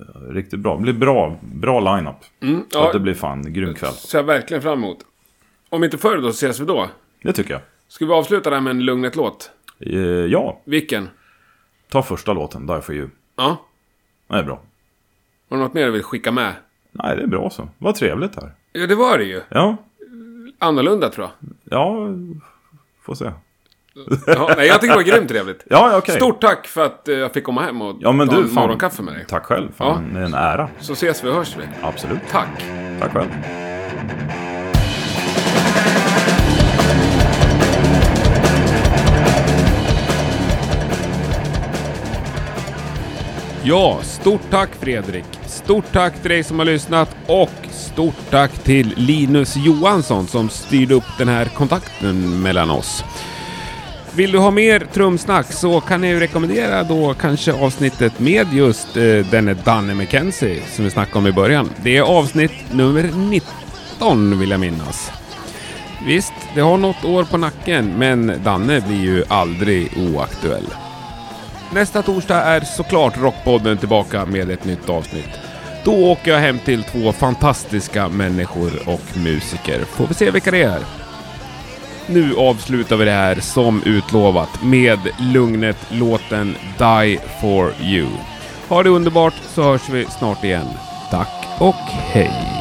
B: Eh, Riktigt bra. Det blir bra, bra line-up. Så
D: ja.
B: att det blir fan grym kväll.
D: Ser jag verkligen fram emot. Om inte förr då, så ses vi då.
B: Det tycker jag.
D: Ska vi avsluta det här med en Lugnet-låt?
B: Eh, Ja,
D: Vilken?
B: ta första låten, Die For You.
D: Ja.
B: Det är bra.
D: Har du något mer du vill skicka med?
B: Nej, det är bra så. Vad trevligt här.
D: Ja, det var det ju.
B: Ja,
D: Annorlunda, tror jag.
B: ja, får se.
D: Ja, nej, jag tycker det var grymt trevligt.
B: Ja, okej.
D: Stort tack för att eh, jag fick komma hem och
B: Ja, men
D: ta
B: du,
D: en
B: fan.
D: morgonkaffe med dig.
B: Tack själv. Fan, det är en ära.
D: Så ses vi och hörs vi.
B: Absolut.
D: Tack.
B: Tack själv.
A: Ja, stort tack Fredrik. Stort tack till dig som har lyssnat och stort tack till Linus Johansson som styrde upp den här kontakten mellan oss. Vill du ha mer trumsnack så kan jag ju rekommendera då kanske avsnittet med just eh, denne Danne McKenzie som vi snackade om i början. Det är avsnitt nummer 19 vill jag minnas. Visst, det har något år på nacken men Danne blir ju aldrig oaktuell. Nästa torsdag är såklart Rockpodden tillbaka med ett nytt avsnitt. Då åker jag hem till två fantastiska människor och musiker. Får vi se vilka det är. Nu avslutar vi det här som utlovat med Lugnet-låten Die For You. Ha det underbart så hörs vi snart igen. Tack och hej!
C: oh,